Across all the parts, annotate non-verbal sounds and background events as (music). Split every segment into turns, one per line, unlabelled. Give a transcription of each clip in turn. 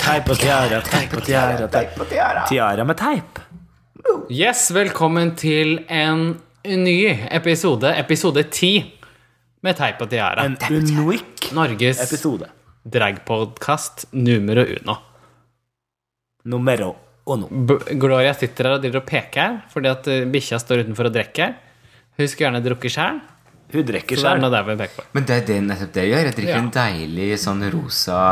teip og tiara, teip og tiara, teip og tiara. Tiara med teip.
Yes, velkommen til en ny episode, episode 10 med Teip og tiara.
En unik
Norges
episode.
dragpodkast numero uno.
Numero uno.
B Gloria sitter her og driver og peker fordi at eh, bikkja står utenfor og drikker. Hun skulle gjerne drukket sjøl,
Hun drikker
så det er
sjøl.
noe der vi peker på.
Men det er det nettopp det jeg gjør. Jeg drikker
Ja.
en deilig sånn rosa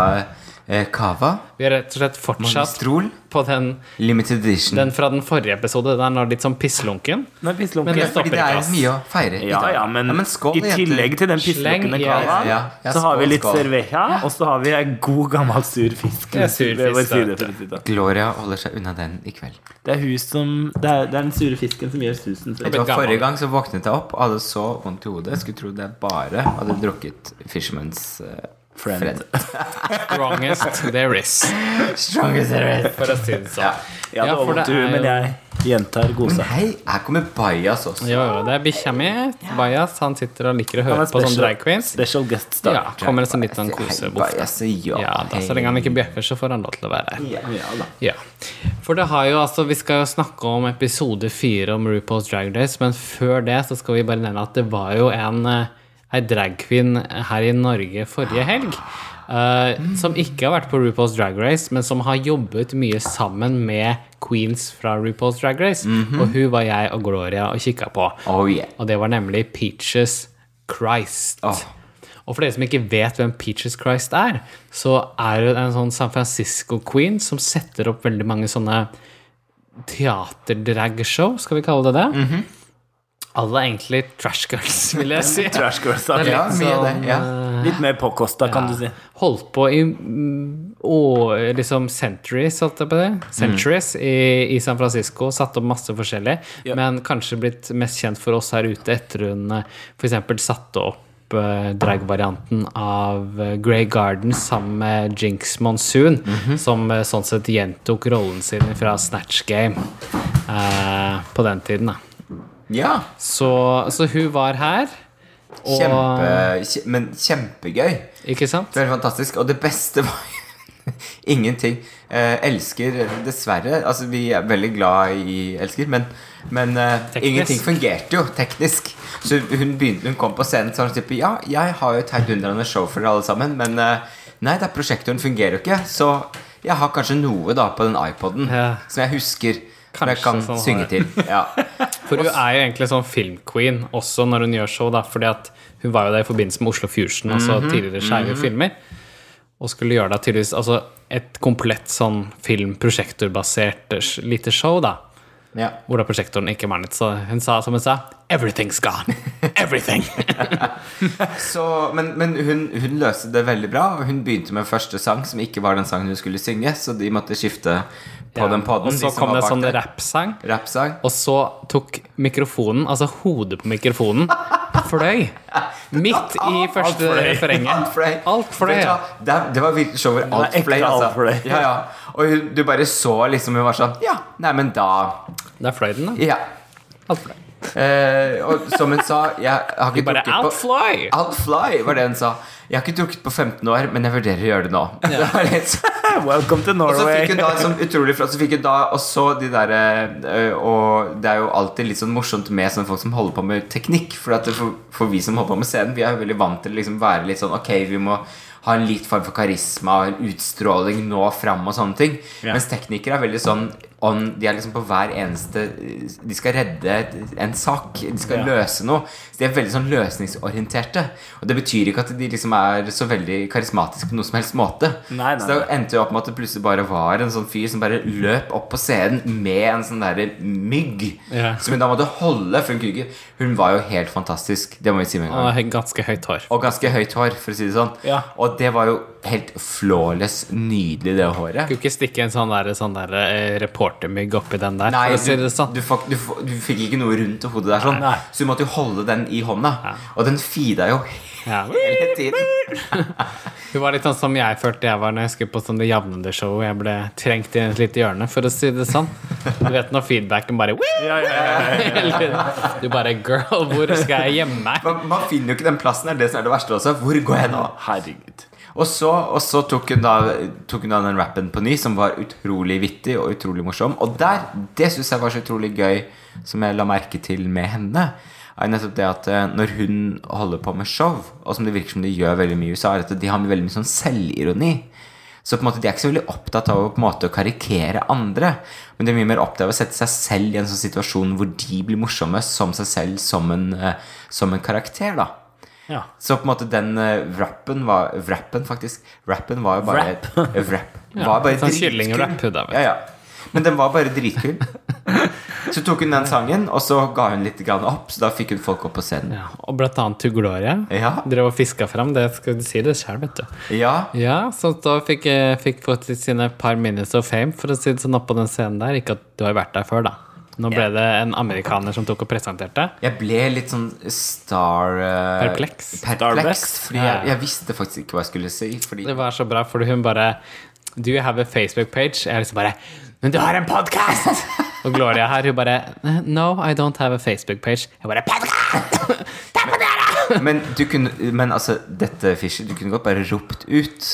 eh, cava.
Vi har rett og slett fortsatt
Mistrol.
på den,
Limited edition.
den fra den forrige episode. Den er litt sånn pisslunken.
Nå er
Men
pisslunken.
det
Fordi
stopper
det
ikke
er
oss.
mye å feire. i
Ja,
dag.
ja, men,
skål,
i tillegg til den pisslukkende
Sleng, ja,
kavaen,
ja, ja,
så har vi
skål,
litt
skål.
cerveja, og så har vi en god, gammel sur fisk.
er sur
ved vår
fisk, da,
side,
vet du.
for å si det.
Gloria holder seg unna den i kveld.
Det er hun som Det er, det er den sure fisken som gjør susen.
Vet
Tror jeg.
du hva,
gammel.
Forrige gang så våknet jeg opp og hadde så vondt i hodet. Jeg skulle tro det bare hadde drukket Fisherman's eh,
Friend.
Friend.
Strongest there is,
Strongest there
(laughs)
is.
for å si det sånn.
Jeg hadde
Ja, for
vondt
det
i huet,
er
men
jo-
jeg gjentar godsa.
Hei, her kommer Bajas også.
Jo, jo, det er bikkja mi. Bajas. Han sitter og liker å
Han
høre
er
på sånn
special-
drag queens.
Special guest star.
Ja, kommer det som litt av en
Hei,
kosebuff.
Bajas, ja.
Ja, da, så lenge han ikke bjeffer, så får han lov til å være her.
Ja da.
Ja. For det har jo altså Vi skal jo snakke om episode fire om RuPaul's Drag Race, men før det så skal vi bare nevne at det var jo en eh, ei drag queen her i Norge forrige helg. eh, som ikke har vært på RuPaul's Drag Race, men som har jobbet mye sammen med queens fra RuPaul's Drag Race. Og hun var jeg og Gloria og kikka på.
Oh yeah.
Og det var nemlig Peaches Christ.
Åh.
Og for dere som ikke vet hvem Peaches Christ er, så er hun en sånn San Francisco-queen som setter opp veldig mange sånne teaterdragshow, skal vi kalle det det. Alle er egentlig trash girls, vil
(laughs)
jeg si.
Trash girls. da.
Ja, mye av det. Ja.
Litt mer påkosta, kan du si.
Holdt på i mm, å, liksom centuries, holdt jeg på det. Centuries i, i San Francisco. Satt opp masse forskjellig.
Ja.
Men kanskje blitt mest kjent for oss her ute etter hun eh, for eksempel satte opp eh, dragvarianten av eh, Grey Garden sammen med Jinx Monsoon, som eh, sånn sett gjentok rollen sin fra Snatch Game eh, på den tiden. da sånn,
ja.
eh, Så, så hun var her. Og,
Kjempe, kje- men kjempegøy.
Ikke sant?
Det var helt fantastisk. Og det beste var (laughs) ingenting. Eh, elsker, dessverre Altså, vi er veldig glad i Elsker, men, men eh,
Teknisk.
ingenting fungerte jo teknisk. Så hun begynte Hun kom på scenen sånn type Ja, jeg har jo et heidundrende show for dere alle sammen, men eh, nei, da prosjektoren fungerer jo ikke, så jeg har kanskje noe da på den iPoden
Ja.
som jeg husker. Som jeg
Kanskje
kan
sånn har
synge til.
jeg. (laughs)
Ja.
For hun er jo egentlig sånn filmqueen også når hun gjør show, da, fordi at hun var jo der i forbindelse med Oslo Fusion, altså
Mhm,
tidligere skeive filmer, og skulle gjøre da tydeligvis altså et komplett sånn filmprosjektorbasert eh, sh- lite show, da.
Ja.
Hvor da prosjektoren ikke var nett, så hun sa som hun sa Everything's gone! Everything!
Så, men men hun, hun løste det veldig bra, og hun begynte med første sang, som ikke var den sangen hun skulle synge, så de måtte skifte (laughs) på
Ja,
den poden.
og så kom det en sånn rappsang,
rappsang.
og så tok mikrofonen, altså hodet på mikrofonen,
(laughs)
fløy! Midt i første refrenget.
Alt fløy.
Alt fløy,
Vet du
ja.
hva? Det, det var virkelig show hvor alt
ekte
fløy.
alt fløy.
Altså. Ja, ja. Og hun, du bare så liksom Hun var sånn Ja, nei, men da
Der fløy den, da.
Ja.
Alt fløy.
Eh, og som hun sa Jeg har
(laughs)
ikke
Bare
drukket på
outfly!
Alt fly, var det hun sa. Jeg har ikke drukket på 15 år, men jeg vurderer å gjøre det nå. (laughs) Det var litt sånn
Welcome to
Og så
Norway.
fikk hun da et sånn utrolig flott Så fikk hun da også de der eh, Og det er jo alltid litt sånn morsomt med sånne folk som holder på med teknikk For, at det, for, for vi som holder på med scenen Vi er jo veldig vant til å liksom være litt sånn Ok, vi må ha en litt form for karisma og En utstråling nå frem og sånne ting
Ja.
Mens teknikere er veldig sånn on, De er liksom på hver eneste De skal redde en sak De skal
Ja.
løse noe Så de er veldig sånn løsningsorienterte Og det betyr ikke at de liksom er så veldig karismatiske På noen som helst måte
Nei, nei,
så da endte jo opp med at det plutselig bare var en sånn fyr som bare løp opp på scenen med en sånn derre mygg.
Ja.
Som hun da måtte holde. For hun, kunne ikke- hun var jo helt fantastisk. Det må vi si med en gang.
Og he- ganske høyt hår.
Og ganske høyt hår, for å si det sånn.
Ja.
Og det var jo helt flawless nydelig, det håret.
Skulle ikke stikke en sånn der, sånn der eh, reportermygg oppi den der.
Nei,
for å si
du,
det sånn.
du, fikk, du, f- du fikk ikke noe rundt hodet der sånn.
Nei.
Så du måtte jo holde den i hånda. Og den feeda jo (laughs)
Ja.
hele tiden.
Hun var litt sånn som jeg følte jeg var når jeg skulle på sånn Det jevnende show. Jeg ble trengt i et lite hjørne, for å si det sånn. Du vet når feedbacken bare
Ja, ja, ja, ja.
(laughs) Hele tiden. Du bare Girl, hvor skal jeg gjemme meg?
Man, man finner jo ikke den plassen. Det er det som er det verste også. Hvor går jeg nå?
Herregud.
Og så, og så tok, hun da, tok hun da den rappen på ny, som var utrolig vittig og utrolig morsom. Og der, det syns jeg var så utrolig gøy, som jeg la merke til med henne, er nettopp det at eh, når hun holder på med show, og som det virker som de gjør veldig mye i USA, er at de har med veldig mye sånn selvironi. Så på en måte de er ikke så veldig opptatt av å på en måte karikere andre. Men de er mye mer opptatt av å sette seg selv i en sånn situasjon hvor de blir morsomme som seg selv, som en, eh, som en karakter. da
Ja.
så på en måte den uh, rappen var Rappen, faktisk. Rappen var jo bare (laughs) Wrap. var bare
sånn
dritkul.
kyllingrapp, det vet jeg.
Ja, ja. Men den var bare
(laughs)
dritkul. Så tok hun den sangen, og så ga hun litt grann opp, så da fikk hun folk opp på scenen.
Ja, og blant annet to Gloria.
Ja.
Drev og fiska fram. Det skal du si det sjøl, vet du.
Ja,
Ja, så da fikk, eh, fikk fått sine par minutes of fame, for å si det sånn, oppå den scenen der. Ikke at du har vært der før, da. Nå ble det en amerikaner som tok og presenterte.
jeg ble litt sånn star... Uh,
Perpleks.
Perpleks,
Starbucks.
fordi jeg, jeg visste faktisk ikke hva jeg skulle si. Fordi,
Det var så bra, fordi hun bare Do you have a Facebook page? Jeg er liksom bare Men du har en podkast! Og Gloria her, hun bare No, I don't have a Facebook page. Jeg bare Podkast! Det er på dere!
men du kunne Men altså, dette Fischer, du kunne godt bare ropt ut.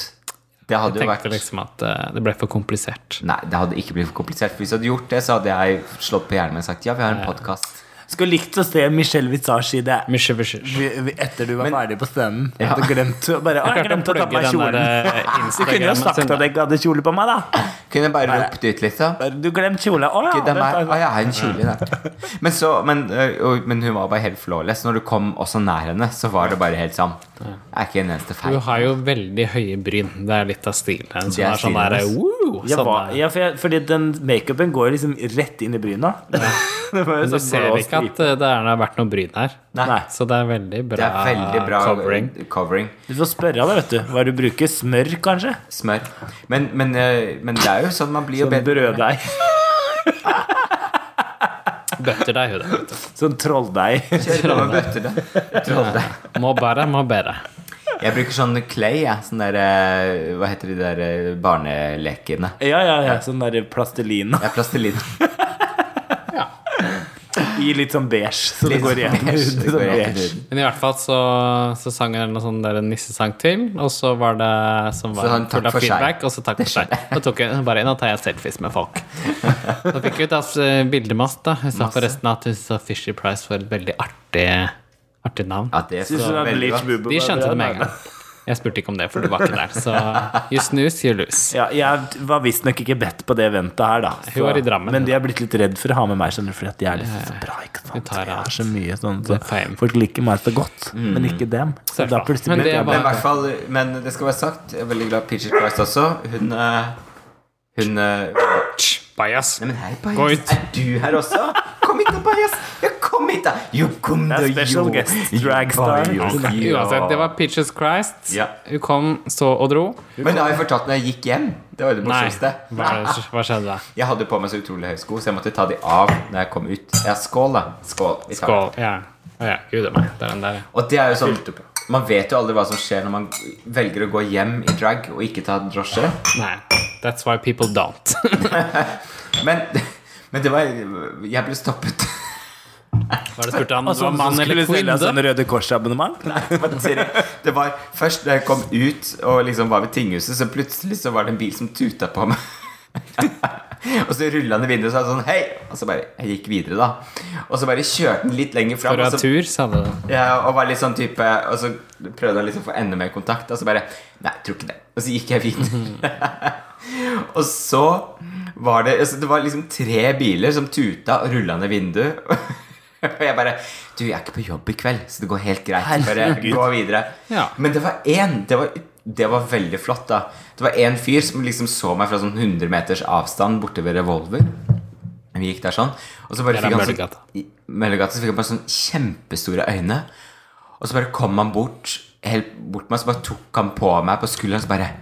Det hadde jo vært
Tenkte liksom at eh, det ble for komplisert.
Nei, det hadde ikke blitt for komplisert. For hvis jeg hadde gjort det, så hadde jeg slått på hjernen min og sagt ja, vi har en podcast
Skulle likt å se Michelle Visage i det
Misje, misje.
vi- vi- etter du var ferdig på scenen. Jeg
Ja.
hadde glemt å bare, å, jeg
klarte å
glemte å ta på
plugge
meg
den der,
kjolen. (laughs) Du
eh,
kunne jo
Instagrammen
sagt
sin,
at
da.
jeg ikke hadde kjole på meg, da.
Kunne jeg bare ropt ut litt, da?
Bare, Du glemte kjole. Å ja.
Ikke dem her.
det
Å,
er-
jeg har en kjole
(laughs)
der. Men, så, men, ø, og- men hun var bare helt flawless. Når du kom også nær henne, så var det bare helt sånn. Jeg er ikke en eneste feil.
Hun har jo veldig høye bryn. Det er litt av stilen hennes.
Det
Hun
er
er
stilen
sånn der
hennes.
wow,
Jeg
sånn
var,
der.
ja, for jeg, fordi den makeupen går liksom rett inn i bryna. (laughs) Det var jo
Men Du
sånn
ser
blå
ikke
stripe.
at eh, det er- har vært noe bryn her.
Nei.
Så det er veldig bra,
Det er veldig bra (laughs)
covering.
covering.
Du får spørre deg, vet du. Hva du bruker? Smør, kanskje?
Smør. Men, men, ø, men det er jo sånn man blir jo
Sånn
bedre.
brøddeig.
Bøtter deg, hun. vet du.
Sånn trolldeig. (laughs)
Kjør på med
Sånn
bøtter, da. Troll deg.
Må bare, må bare.
Jeg bruker sånn clay, jeg. Sånn der ø, Hva heter de der ø, barnelekene?
Ja, ja, ja. Sånn der plastelin
Jeg er plastelin.
i litt sånn beige, så det
Litt
går (laughs) igjen.
beige, det
Sånn
går igjen i
beige.
huden.
Men i hvert fall så, så sang hun noe sånn der en nissesang til, og så var det som var
Så han
full
takk
av
for seg.
feedback, og så takk
(laughs)
for seg. Da tok hun bare inn og tar jeg selfies med folk. Så fikk hun tatt eh, bilder med oss, da. Hun sa forresten at hun sa Fisher Price var et veldig artig, artig navn.
Ja, det er
Syns du
så
den
veldig
bleach
godt.
booba
De
var
skjønte
bra,
det med en
da?
gang. Jeg spurte ikke om det, for du var ikke der. Så you snooze, you lose.
Ja, jeg var visstnok ikke bedt på det eventet her, da.
Hun var i Drammen,
men de
da.
er blitt litt redd for å ha med meg, skjønner du, fordi at jeg er liksom så bra, ikke sant.
tar
Jeg
alt.
har så mye sånn
Det
så
er feil.
Folk liker meg så godt, men ikke dem. Så da
Selvfølgelig.
plutselig
Men
blir
det
jeg
var-
Men, i
bare
hvert fall, men det skal være sagt, jeg er veldig glad i Peaches Christ også. Hun eh, Hun eh, Nei,
Bajas.
men hei,
Gå
Bajas.
ut.
Er du her også? Kom hit, da, Bajas. Ja, kom hit, da. Jo, kom da,
Det er
jo.
special guest, dragstar.
Jo, jo.
(laughs) Uansett, det var Peaches Christ.
Ja.
Hun kom, så og dro.
Men da har jeg fortalt når jeg gikk hjem. Det var det
Nei,
morsomste.
hva, hva skjedde da?
Jeg hadde på meg så utrolig høye sko, så jeg måtte ta de av når jeg kom ut. Ja, skål, da. Skål. Vi tar
Skål. Ja. Å ja, gud a meg. Det er den der, ja.
Og det er jo sånn Man vet jo aldri hva som skjer når man velger å gå hjem i drag og ikke ta drosje.
Nei. That's why people don't.
Men, (laughs) men det var Jeg ble stoppet. (laughs)
Hva er det spurte han?
Og
Du var
sånn
mann
som
eller
skulle selge
kvinne?
oss en Røde Kors-abonnement?
Men Siri, det var Først da jeg kom ut og liksom var ved tinghuset, så plutselig så var det en bil som tuta på meg. (laughs) og så rulla han i vinduet og sa sånn Hei! Og så bare Jeg gikk videre, da. Og så bare kjørte han litt lenger fram.
For
Og,
å
altså-
ha
så,
tur, sa du det.
ja, og var litt sånn type Og så prøvde han liksom å få enda mer kontakt, og så bare Nei, tror ikke det. Og så gikk jeg videre. (laughs) og så var det altså, Det var liksom tre biler som tuta og rulla ned vinduet. (laughs) Og jeg bare Du, jeg er ikke på jobb i kveld, så det går helt greit. Bare
Herregud.
gå videre.
Ja.
Men det var én. Det var, det var veldig flott, da. Det var én fyr som liksom så meg fra sånn 100 meters avstand borte ved Revolver. Vi gikk der sånn. Og så bare
Det
fikk
er
han
Møllergata.
sånn, i Møllergata, så fikk han bare sånn kjempestore øyne. Og så bare kom han bort, helt bort til meg, så bare tok han på meg på skulderen, så bare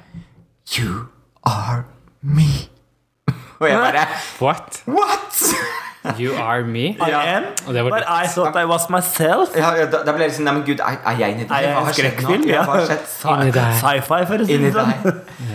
You are me. (laughs) Og jeg bare
What?
What?!
You are me?
I
Ja.
am,
Og det var
but I thought I was myself.
Ja, ja, da, da ble jeg liksom Nei, men gud, er, er jeg inni deg?
Er jeg
Hva
en
har skjedd nå?
skrekkfilm?
Ja,
Ja.
hva har skjedd?
Inni deg.
Sci-fi, for å si
Inni
det sånn.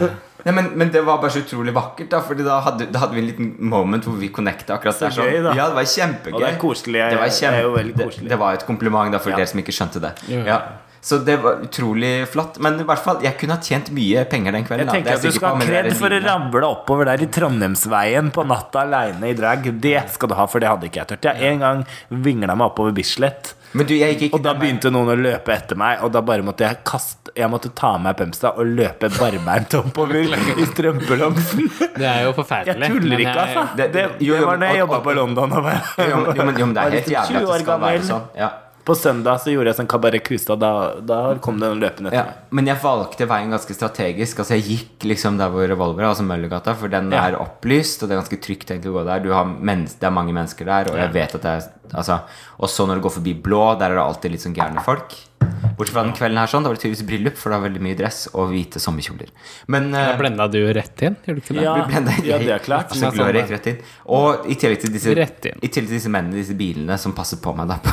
deg. Nei, men, men det var bare så utrolig vakkert, da, Fordi da hadde, da hadde vi en liten moment hvor vi connecta akkurat der.
gøy, da.
Ja, det var kjempegøy.
Og det er koselig.
Det var
Det er jo veldig
kjempe-
koselig.
det, det var et kompliment da for
Ja.
dere som ikke skjønte det.
Ja.
Ja. Så det var utrolig flatt. Men i hvert fall, jeg kunne ha tjent mye penger den
Jeg
kvelden. da. Det er
tenker at du
sikker
skal
på,
ha
men det er
kred for å
livet.
ramle oppover der i Trondheimsveien på natta aleine i drag. Det skal du ha, for det hadde ikke jeg tørt. Jeg en gang vingla meg oppover Bislett.
Men du, jeg gikk ikke
Og da
den veien.
begynte noen å løpe etter meg, og da bare måtte jeg kaste Jeg måtte ta av meg pømsa og løpe barbeint
(laughs)
oppover i strømpelomsen.
Det er jo
Jeg
forferdelig. men
tuller ikke,
jeg-
altså. Det,
Det-
det,
jo, jo,
var da jeg
og-
jobba
og-
på London. Og
Jo, men- jo, men, jo, men det
var
er helt
liksom
jævlig at
20
det
år
skal være
gammel.
sånn. Ja.
På søndag så gjorde jeg sånn Kabaret Kustad. Da, da kom den løpende
Ja.
etter meg.
Men jeg valgte veien ganske strategisk. Altså Jeg gikk liksom der hvor Revolver er, altså Møllergata, for den
Ja.
er opplyst, og det er ganske trygt egentlig å gå der. Du har mens, det er mange mennesker der, og jeg vet at det er altså, Og så når du går forbi Blå, der er det alltid litt sånn gærne folk. Bortsett fra den kvelden her, sånn. Da var det tydeligvis bryllup, for det var veldig mye dress og hvite sommerkjoler. Men
Da
eh,
blenda du jo rett inn, gjorde du ikke det?
Ja,
vi ble der.
ja, det er klart.
Så glør jeg gikk rett inn. Og i tillegg til disse,
Rett inn.
i tillegg til disse mennene, disse bilene, som passer på meg, da.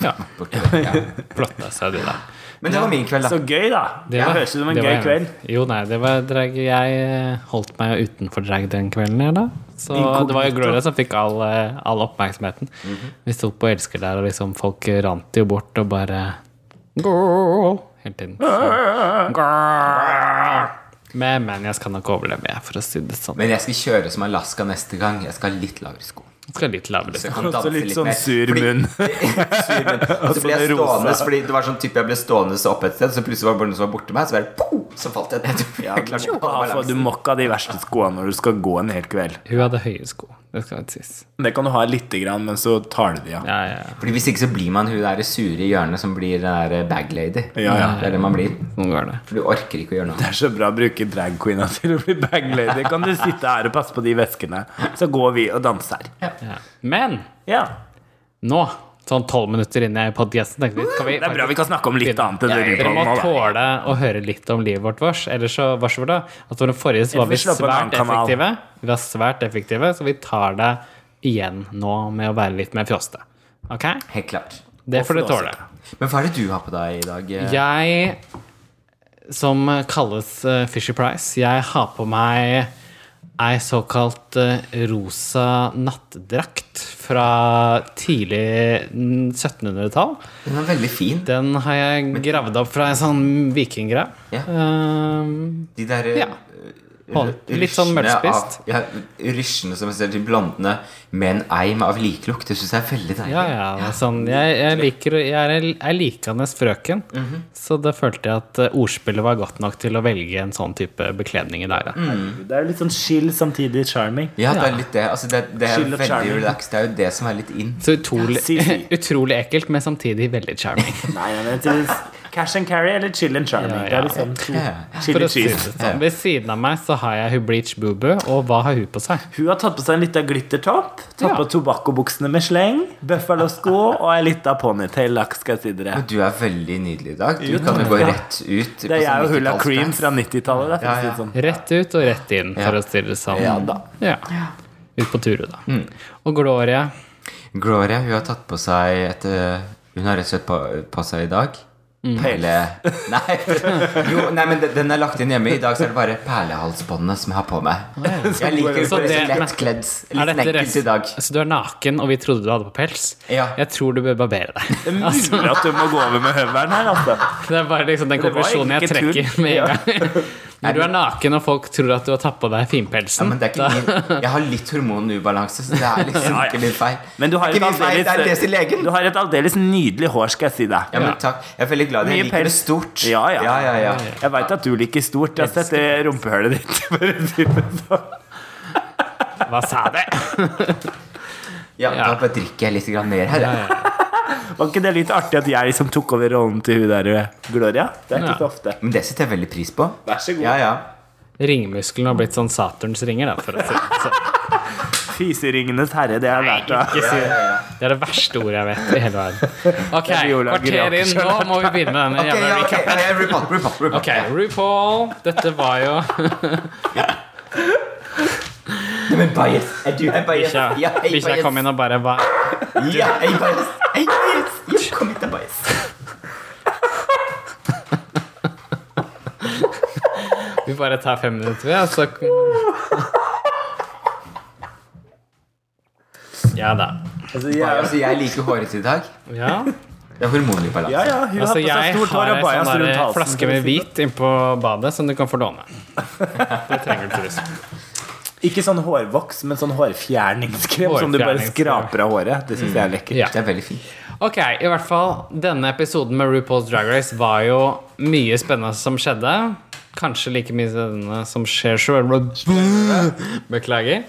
Ja.
Bortover, ja.
(laughs)
Flotta seg du, da.
Men det var min kveld, da.
Så gøy, da. Det
var-
høres ut som en
det
gøy
var-
kveld.
Jo, nei, det var drag Jeg eh, holdt meg jo utenfor drag den kvelden, jeg, da. Så
Inkognito.
det var jo Gloria som fikk all, eh, all oppmerksomheten.
Mhm.
Vi sto på Elsker der, og liksom folk rant jo bort og bare Gå! Hele tiden. Så- Gå! Men, men jeg skal nok overleve, jeg, for å si det sånn.
Men jeg skal kjøre som Alaska neste gang. Jeg skal ha litt lavere sko.
Jeg skal litt lavere.
Så jeg
Og (laughs) så
kan danse
litt
litt
sånn
mer.
sur
Fordi- (laughs)
munn.
sur munn. Og så ble jeg
sånn
stående
rosa.
fordi det var sånn type jeg ble stående så opp et sted, så plutselig var det bare noen som var borte meg, så bare pow, så falt jeg ned. (laughs) Jeg klarte ikke å holde
Altså, du
balansen.
må ikke ha de verste skoene når du skal gå en hel kveld.
Hun hadde høye sko. Det skal sies.
Det kan du ha lite grann, men så tar du de av.
Ja, ja, ja.
Fordi Hvis ikke så blir man hun der sure i hjørnet som blir den der eh, bag lady.
Ja, ja.
Det er det man blir.
Sånn går det.
For du orker ikke å gjøre noe.
Det er så bra å bruke dragqueena til å bli baglady. Kan du sitte her og passe på de veskene, så går vi og danser.
Ja. Men
Ja,
nå, sånn tolv minutter inn i podcasten, tenkte vi skal vi
Det er bra vi kan snakke om litt annet enn det
Dere
Rudolf nå,
må
da.
tåle å høre litt om livet vårt vårs. Ellers så vars for det. At for den forrige så var
Eller vi
vi
slår på en
svært
annen kanal.
effektive. Vi var svært effektive, så vi tar det igjen nå med å være litt mer fjoste. Ok?
Helt klart.
Det får du
Hvorfor da,
tåle.
Men hva er det du har på deg i dag? eh?
Jeg, som kalles eh, Fisher Price, jeg har på meg ei såkalt eh, rosa nattdrakt fra tidlig mm, 1700-tall.
Den er veldig fin.
Den har jeg gravd opp fra ei sånn vikinggrav.
Ja.
Ehm,
De der eh,
Ja. Hold-
r-
litt sånn
rysjene av-
mørspist.
Ja, rysjene som jeg ser til blondene med en eim av liklukt. Det syns jeg er veldig deilig.
ja, ja. det er Sånn, jeg, jeg liker Jeg er ei- ei likende frøken,
Mhm.
så da følte jeg at eh, ordspillet var godt nok til å velge en sånn type bekledning i dag. Da.
Mm.
Det er litt sånn chill samtidig charming.
Ja, det er litt det. Altså, det, det er
Chill og
veldig
charming.
relaxed. Det er jo det som er litt in.
Så utrolig,
Si, si.
(laughs) utrolig ekkelt, men samtidig veldig
(laughs)
charming.
(laughs) Nei, jeg vet ikke. Cash and carry eller chill and charming.
Ja,
Det
ja.
er liksom
Ja.
to
For
chill
å
and
si det
cheese.
sånn. Ved siden av meg så har jeg hun Bleach Boobu, og hva har hun på seg?
Hun har tatt på seg en liten glittertopp, tatt
Ja.
på tobakkobuksene med sleng, buffalosko og ei lita ponytail-lakk, skal jeg si dere.
Men du er veldig nydelig i dag. Du kan jo gå
takk.
rett ut. sånn
Det er jeg og Hulla
Sånn
Cream fra 90-tallet.
Ja,
Ja,
ja.
sånn.
Rett ut og rett inn, for
Ja.
å si det sånn.
Ja da. Mm.
Ja. Ut på Turu, da. Og Gloria.
Gloria, hun har tatt på seg et øh, Hun har rett og slett på, på seg i dag.
Mm.
Perle... Nei. Jo, nei, men den- den er lagt inn hjemme. I dag så er det bare perlehalsbåndet som jeg har på meg. Jeg liker
Så
bare
det-
så lettkledd.
Er
Litt
dette
lekkert
rest-
i dag.
Så Altså, du er naken, og vi trodde du hadde på pels?
Ja.
Jeg tror du bør barbere deg. Altså,
Det er mulig at du må gå over med høvelen her, altså.
Det er bare liksom
det
den
var
konklusjonen jeg
egentlig
trekker
ikke
med en gang. Når du er naken og folk tror at du har tatt på deg
Ja,
finpelsen
men det er ikke min Jeg har litt hormonubalanse, så det er liksom
(laughs) Ja, ja.
ikke min feil.
Men du har, et
det er ikke min feil, det er det til
aldeles,
legen.
du har et aldeles nydelig hår, skal jeg si deg.
Ja, men takk. Jeg er veldig glad jeg
Mye
liker det
pels.
stort.
Ja, ja.
ja, ja, ja.
Jeg veit at du liker stort. Jeg har sett det rumpehullet ditt. (laughs) for å si det sånn.
Hva sa du?
Ja, Da bare drikker jeg litt grann mer her. jeg.
Var ikke det litt artig at jeg liksom tok over rollen til hun der eh, Gloria? Det er ikke
Ja.
så ofte.
Men det setter jeg veldig pris på.
Vær så god.
Ja, ja.
Ringmuskelen har blitt sånn Saturns ringer, da, for å si det sånn.
Fiseringenes herre, det har jeg lært av.
Ikke si det. Det er det verste ordet jeg vet i hele verden. Ok,
Det er Viola
kvarter inn. Nå må vi begynne med denne
Ok,
jævla
ja, ok,
recapen.
ja, report, report, report.
Ok, RuPaul. Dette var jo
Nei, men bias. Er du en bias?
Bikkja
Ja, jeg er
bikkja
bias.
kom inn og bare hva
Ja, jeg er bias. Jeg er bias. Ja, kom hit, jeg er bias.
Vi bare tar fem minutter, vi, og så Ja da.
Altså,
Ja,
jeg, Altså, (laughs)
altså, jeg liker håret i dag.
Ja.
Det er hormonlig balanse.
Ja, ja, hun
Altså,
har på
jeg
seg stort hår
har
og
ei
bajas
sånn
rundt
der
halsen.
flaske med hvit
sånn.
innpå badet som du kan
(laughs)
få låne. Det trenger du til
Ikke sånn hårvoks, men sånn hårfjerningskrem som du bare
Hårfjerningskrem.
skraper av håret. Det syns jeg er lekkert. (laughs)
Ja.
Det er veldig fint.
Ok, i hvert fall Denne episoden med RuPaul's Drag Race var jo mye spennende som skjedde. Kanskje like mye spennende som skjer selv. Beklager.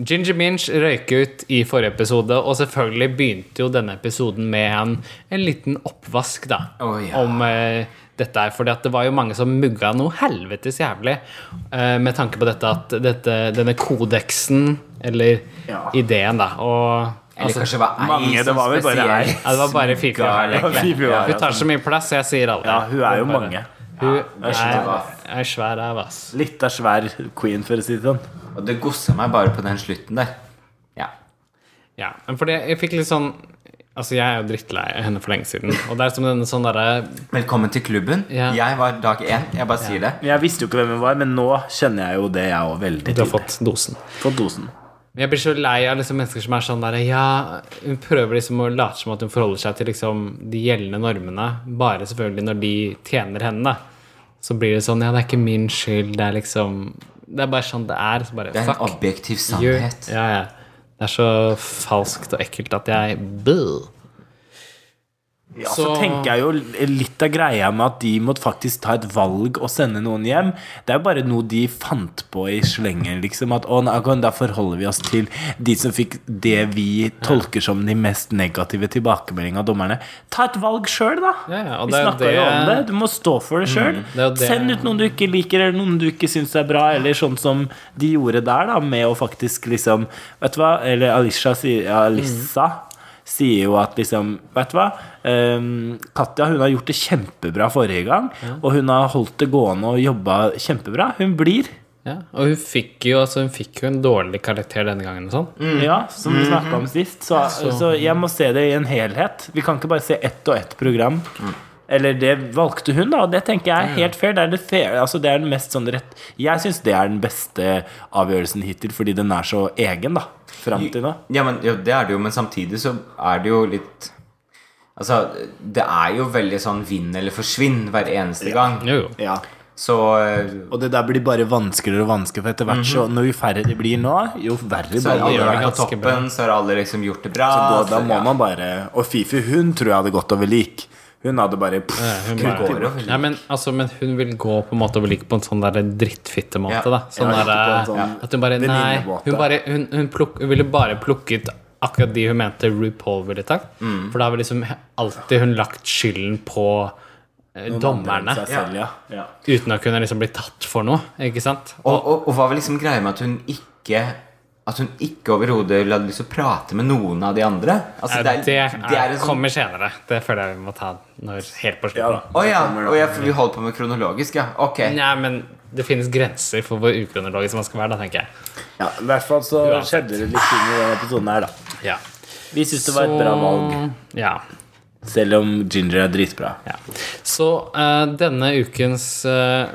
Ginger Minch røyk ut i forrige episode, og selvfølgelig begynte jo denne episoden med en, en liten oppvask, da.
Å, ja.
Om eh, dette her, fordi at det var jo mange som mugga noe helvetes jævlig eh, med tanke på dette at dette, denne kodeksen, eller
Ja.
ideen, da. Og altså,
Eller kanskje det var ei
Altså, mange, det var vel bare ei.
spesielt
ja, det var bare Fifi.
ga
Ja,
legge.
Fifi var
Hun
det.
tar så mye plass, så jeg sier alle.
Ja, hun er jo
Bare-
mange.
Hun
er svær,
er,
ass.
er svær av ass.
Litt av svær queen, for å si det sånn.
Og det gossa meg bare på den slutten der. Ja.
Ja, men fordi jeg fikk litt sånn Altså, jeg er jo drittlei henne for lenge siden. Og det er som denne sånn derre
Velkommen til klubben.
Ja.
Jeg var dag én. Jeg bare sier det.
Jeg visste jo ikke hvem hun var, men nå kjenner jeg jo det, jeg òg, veldig
Du har
tidlig.
fått dosen.
Fått dosen.
Men jeg blir så lei av liksom mennesker som er sånn derre Ja, hun prøver liksom å late som at hun forholder seg til liksom de gjeldende normene, bare selvfølgelig når de tjener henne, da. Så blir det sånn Ja, det er ikke min skyld, det er liksom Det er bare sånn det er. Så bare
Det er en
fuck.
objektiv
Gjør-
sannhet.
Ja, ja. Det er så falskt og ekkelt at jeg Buh.
Ja, så,
Så-
tenker jeg jo litt av greia med at de måtte faktisk ta et valg og sende noen hjem. Det er jo bare noe de fant på i slengen, liksom. At å, nei, ok, da forholder vi oss til de som fikk det vi tolker som de mest negative tilbakemeldingene av dommerne. Ta et valg sjøl, da!
Ja, ja, og
vi
det er jo
snakka jo
det-
om det. Du må stå for det sjøl.
det er jo det-
Send ut noen du ikke liker, eller noen du ikke syns er bra, eller sånn som de gjorde der, da, med å faktisk liksom Vet du hva? Eller Alisha sier ja, Alissa sier jo at liksom Vet du hva? Ehm, Katja hun har gjort det kjempebra forrige gang, og hun har holdt det gående og jobba kjempebra. Hun blir.
Ja, og hun fikk jo altså, hun fikk jo en dårlig karakter denne gangen. og sånn.
Ja, som vi snakka om sist. Så, Mhm. så.
Så-
jeg må se det i en helhet. Vi kan ikke bare se ett og ett program. Eller det valgte hun, da, og det tenker jeg er helt fair. Det er, det fair, altså det er den mest sånn rett Jeg syns det er den beste avgjørelsen hittil, fordi den er så egen, da. Fram til nå.
Ja, men jo, det er det jo, men samtidig så er det jo litt Altså, det er jo veldig sånn vinn eller forsvinn hver eneste gang.
Jo, jo.
Ja.
Så eh,
Og det der blir bare vanskeligere og vanskeligere for etter hvert. Så når jo færre det blir nå, jo verre blir
så har
det.
alle
gjør det
vært på
ganske bra.
toppen, så har alle liksom gjort det bra.
Så da, da
så-
må
ja.
man bare Og Fifi, hun tror jeg hadde gått over lik. Hun hadde bare pff,
Ja, hun
kutt
bare-
i bort.
Nei, men, altså, men hun vil gå på en måte over like på en sånn der drittfittemåte.
Ja.
da. Sånn
Ja,
der,
ikke på en sånn
at hun bare Nei,
venninnemåte.
hun, bare, hun, hun, plukk- hun ville bare plukket akkurat de hun mente RuPaul ville tatt. For da har liksom alltid hun lagt skylden på eh, dommerne.
Seg selv, ja. ja.
Uten å kunne liksom bli tatt for noe, ikke sant?
Og, og, og hva var liksom greia med at hun ikke At hun ikke overhodet hadde lyst til å prate med noen av de andre? Altså,
det,
det
er,
er, det er en sånn
kommer senere. Det føler jeg vi må ta når, helt på
Ja
slutten.
da.
Å ja, å ja, for vi holder på med kronologisk, ja. Ok.
Nei, men det finnes grenser for hvor ukronologisk man skal være, da, tenker jeg.
Ja, I hvert fall så
Uansett.
skjedde det litt ting i denne episoden her, da.
Ja.
Vi syns det var et bra valg,
Ja.
selv om Ginger er dritbra.
ja. Så eh, denne ukens eh,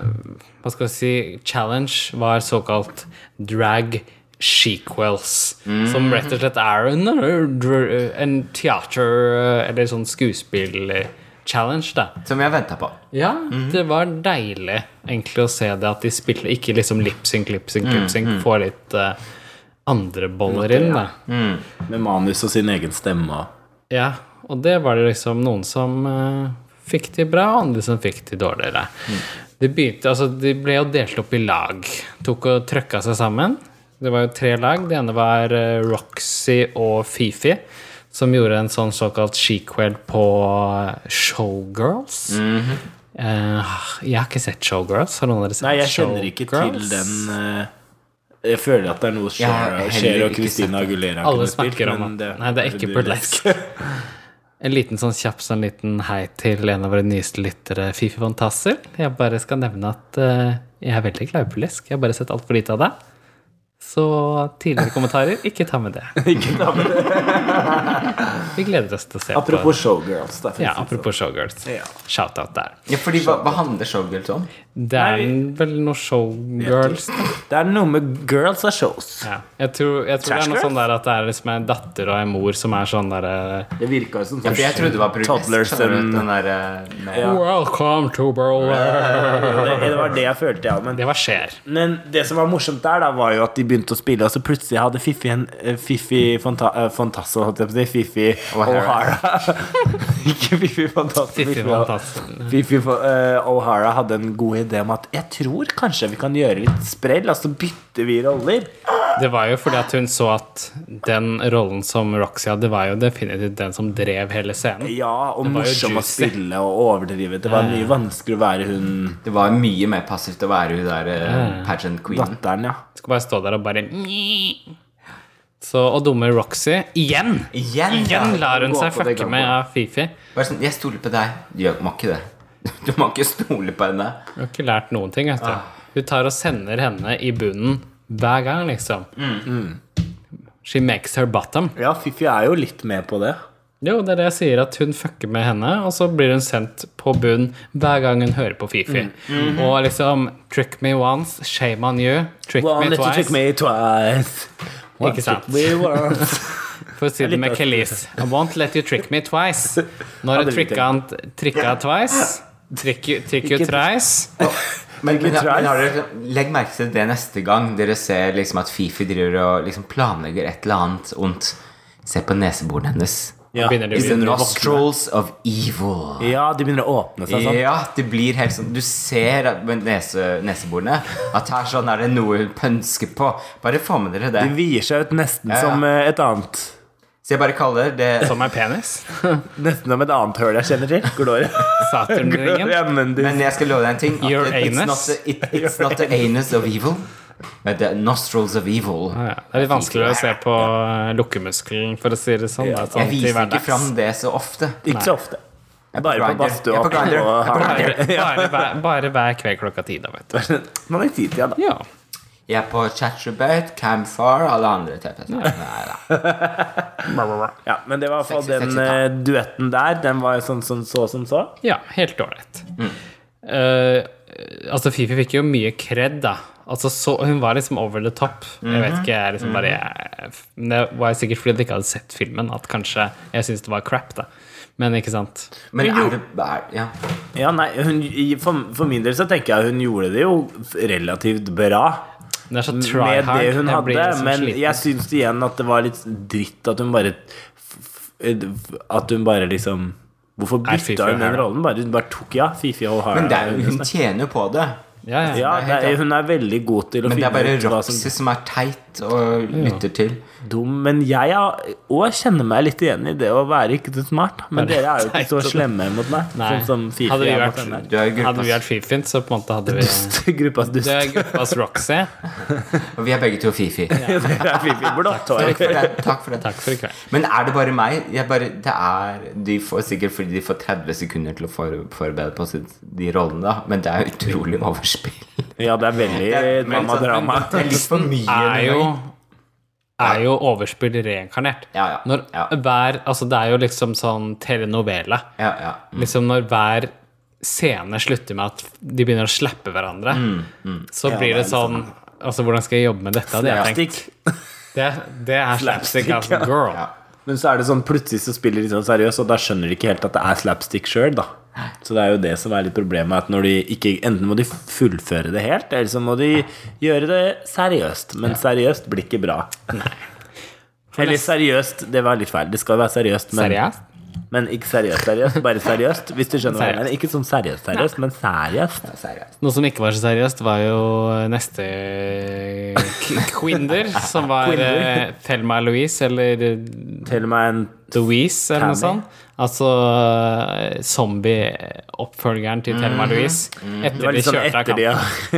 hva skal vi si, challenge var såkalt drag sequels.
Mm.
Som rett og slett er en, eh, en teater- eller sånn skuespill-challenge, da.
Som jeg venta på.
Ja,
Mm.
det var deilig egentlig å se det at de spilte ikke liksom lipsync, lipsync, lipsync.
Mm,
Får litt eh, andre boller inn, da.
Med manus og sin egen stemme og
Ja, og det var det liksom noen som eh, fikk de bra, og andre som fikk de dårligere.
Mm.
De, begynte, altså, de ble jo delt opp i lag. Tok og trøkka seg sammen. Det var jo tre lag. Det ene var eh, Roxy og Fifi. Som gjorde en sånn såkalt shequel på eh, Showgirls. Eh, jeg har ikke sett Showgirls. Har noen av dere sett
Mhm. Nei, jeg kjenner ikke til
Showgirls?
den eh, Jeg føler at det er noe
har
Cher
heller
Cher og
ikke
Christina Agulera
Alle
kunne spilt,
snakker om
men
at Nei, det er ikke
du- (laughs)
burlesk. En liten sånn kjapp sånn liten hei til en av våre nyeste lyttere, Fifi von Tassel. Jeg bare skal nevne at eh, jeg er veldig glad i burlesk. Jeg har bare sett altfor lite av det. Så tidligere kommentarer, ikke ta med det.
Ikke ta med det.
Vi gleder oss til å se
Apropos showgirls. Da, for
på Ja,
å si det
apropos showgirls.
Ja.
Shout-out der.
Ja, fordi hva, hva handler showgirls om?
Det er vel noe showgirls, da.
sånn. Det er noe med girls are shows.
Ja. Jeg tror, jeg tror det er noe
Trash
sånn der at det er liksom en datter og en mor som er sånn derre
Det virka jo som sånn
Ja, for jeg trodde det var burlesk.
Toddlers
skjønner du,
and-
Den der, eh, med,
Ja.
Welcome to Berlin!
det, (laughs) det var det jeg følte, ja. Men,
Det var skjer.
men det som var morsomt der, da, var jo at de begynte å spille, og så plutselig hadde Fiffi en eh, Fiffi Fanta, eh, Fantasso, holdt jeg på å si. Fiffi
O'Hara.
O'Hara. Ikke Fiffi Fantasso.
Fiffi Fantas.
Fifi eh, O'Hara hadde en god idé om at jeg tror kanskje vi kan gjøre litt sprell, altså bytter vi roller.
Det var jo fordi at hun så at den rollen som Roxy hadde, var jo definitivt den som drev hele scenen.
Ja, og
var jo
morsom å
juicy. Eh.
spille og overdrive. Det var mye vanskeligere å være hun
Det var mye mer passivt å være hun der eh,
Mm.
pageant queen.
datteren, ja.
Skal bare stå der og bare så, Og dumme Roxy igjen!
Igjen! ja.
Igjen lar hun
Gå
seg
på det
fucke med
gamle.
av Fifi.
Bare sånn, jeg stoler på deg. Du gjør- må ikke det. (laughs) Du må ikke stole på henne.
Hun har ikke lært noen ting. vet du.
Ah.
Hun tar og sender henne i bunnen hver gang, liksom.
Mm.
She makes her bottom.
Ja, Fifi er jo litt med på det.
Jo, det er det jeg sier, at hun fucker med henne, og så blir hun sendt på bunn hver gang hun hører på Fifi. Og liksom Trick me once, shame on you. Trick
One
me
little
twice.
trick me twice. One
Ikke sant?
trick me
(laughs)
once.
For å si det
litt
med
øst.
Kelis. I won't let you trick me twice. Når
Hadde
du
vi
tricka han trikka twice, trick you, trick you
Ikke-
thrice.
Men, men,
twice.
men har dere, liksom- legg merke til det neste gang dere ser liksom at Fifi driver og liksom planlegger et eller annet ondt. Se på neseborene hennes.
Ja.
Begynner de
It's the
begynner å våkne.
nostrils of evil.
ja, de begynner å åpne seg sånn.
Ja, det blir helt sånn Du ser at- med nese, neseborene at her sånn er det noe hun pønsker på. Bare få med dere
De
det.
vier seg ut nesten
ja.
som eh, et annet
Så jeg bare kaller det
Sånn.
Som er penis.
Nesten som et annet høl jeg kjenner til. Gloria.
Saturnringen.
(laughs) Gloria Mendes.
Men jeg skal love deg en ting. at
Your
it- it's,
anus.
not the, it, it's not the anus of evil, but the nostrils of evil.
Ja, ja. Det er litt vanskelig å se på eh, lukkemuskelen, for å si det sånn. Da, sånn
Jeg
til
viser ikke
hverdags.
fram det så ofte.
Ikke så ofte. Bare på
Grindr.
badstua.
Jeg er på Grindr. Jeg er på
og- (laughs)
Bare, bare, hver, bare hver kveld klokka ti, da, vet du.
Man har tid til det, da.
Ja.
Jeg er på Chatrebate, Camfar, alle andre TV. Nei, nei.
Ja, men det var i hvert fall
Sexy,
den
sexy time.
eh, duetten der. Den var sånn som så som så.
ja helt ålreit. Eh, altså, Fifi fikk jo mye kred, da. Altså, så, hun var liksom over the top. Jeg vet ikke, jeg liksom bare jeg,
Mhm.
men Det var sikkert fordi jeg ikke hadde sett filmen, at kanskje jeg syntes det var crap, da. Men ikke sant.
Men er det er, ja.
Ja, nei, hun, i- for, for min del så tenker jeg hun gjorde det jo relativt bra.
Men det er så try
Med
hard.
det hun
Jeg
hadde,
blir liksom
men
sliten.
jeg syns igjen at det var litt dritt at hun bare f- f- At hun bare liksom Hvorfor
Er Fifi
bytta hun
her,
den
da?
rollen? Bare, hun bare tok, ja, Fifi og Hara.
Men det er, jo- hun tjener jo på det.
ja, ja.
ja, det er, hun er veldig god til å
Men det er
finne
bare
ut hva som
Roxy som er teit og lytter til.
dum, men jeg har- og kjenner meg litt igjen i det å være ikke så smart. Men
Bare
dere er jo ikke så
teit og-
slemme mot meg.
Nei.
Sånn som Fifi
Hadde vi
er mot
vært-
henne (laughs) her.
Du er jo
Hadde vi
gruppa.
vært Fifin, så på en måte hadde vi
Gruppas dust.
Det er gruppas Roxy.
Og vi er begge to Fifi.
Dere er Fifi blått
Takk
hår.
for det. Takk for det.
Takk for i kveld.
Men er det bare meg? Jeg bare, det er, de får sikkert fordi de får 30 sekunder til å for, forberede på sitt, de rollene, da. Men det er utrolig med overspill.
Ja, det er veldig
Men sånn-
mamma-drama.
men Det er litt for mye.
er
noen
jo
ganger.
er jo overspill reinkarnert.
Ja, ja,
Når
ja.
hver Altså, det er jo liksom sånn telenovela.
Ja, ja.
Liksom når hver scene slutter med at de begynner å slappe hverandre,
Mm,
så blir det, sånn Altså, hvordan skal jeg jobbe med dette? hadde jeg tenkt.
Slapstick.
Det, det er slapstick,
Slapstick,
altså.
ja.
Girl.
Ja.
Men så er det sånn, plutselig så spiller de sånn seriøst, og da skjønner de ikke helt at det er slapstick sjøl, da. Så det er jo det som er litt problemet, at når de ikke Enten må de fullføre det helt, eller så må de gjøre det seriøst. Men seriøst blir ikke bra. (laughs) Eller seriøst, det var litt feil. Det skal jo være seriøst, men,
Seriøst?
men ikke seriøst seriøst. Bare seriøst, hvis du skjønner hva jeg
Seriøst.
mener. Ikke sånn seriøst seriøst, men seriøst.
Seriøst.
Noe som ikke var så seriøst, var jo neste k-
(laughs)
Quinder, som var eh, Thelma Louise, eller eh,
Til og med en
Louise, eller noe
Tammy.
sånt. Altså eh, zombie-oppfølgeren til Thelma Louise.
Mm. Det
Etter
var
de
litt sånn
kjørte av
etter de
kampen.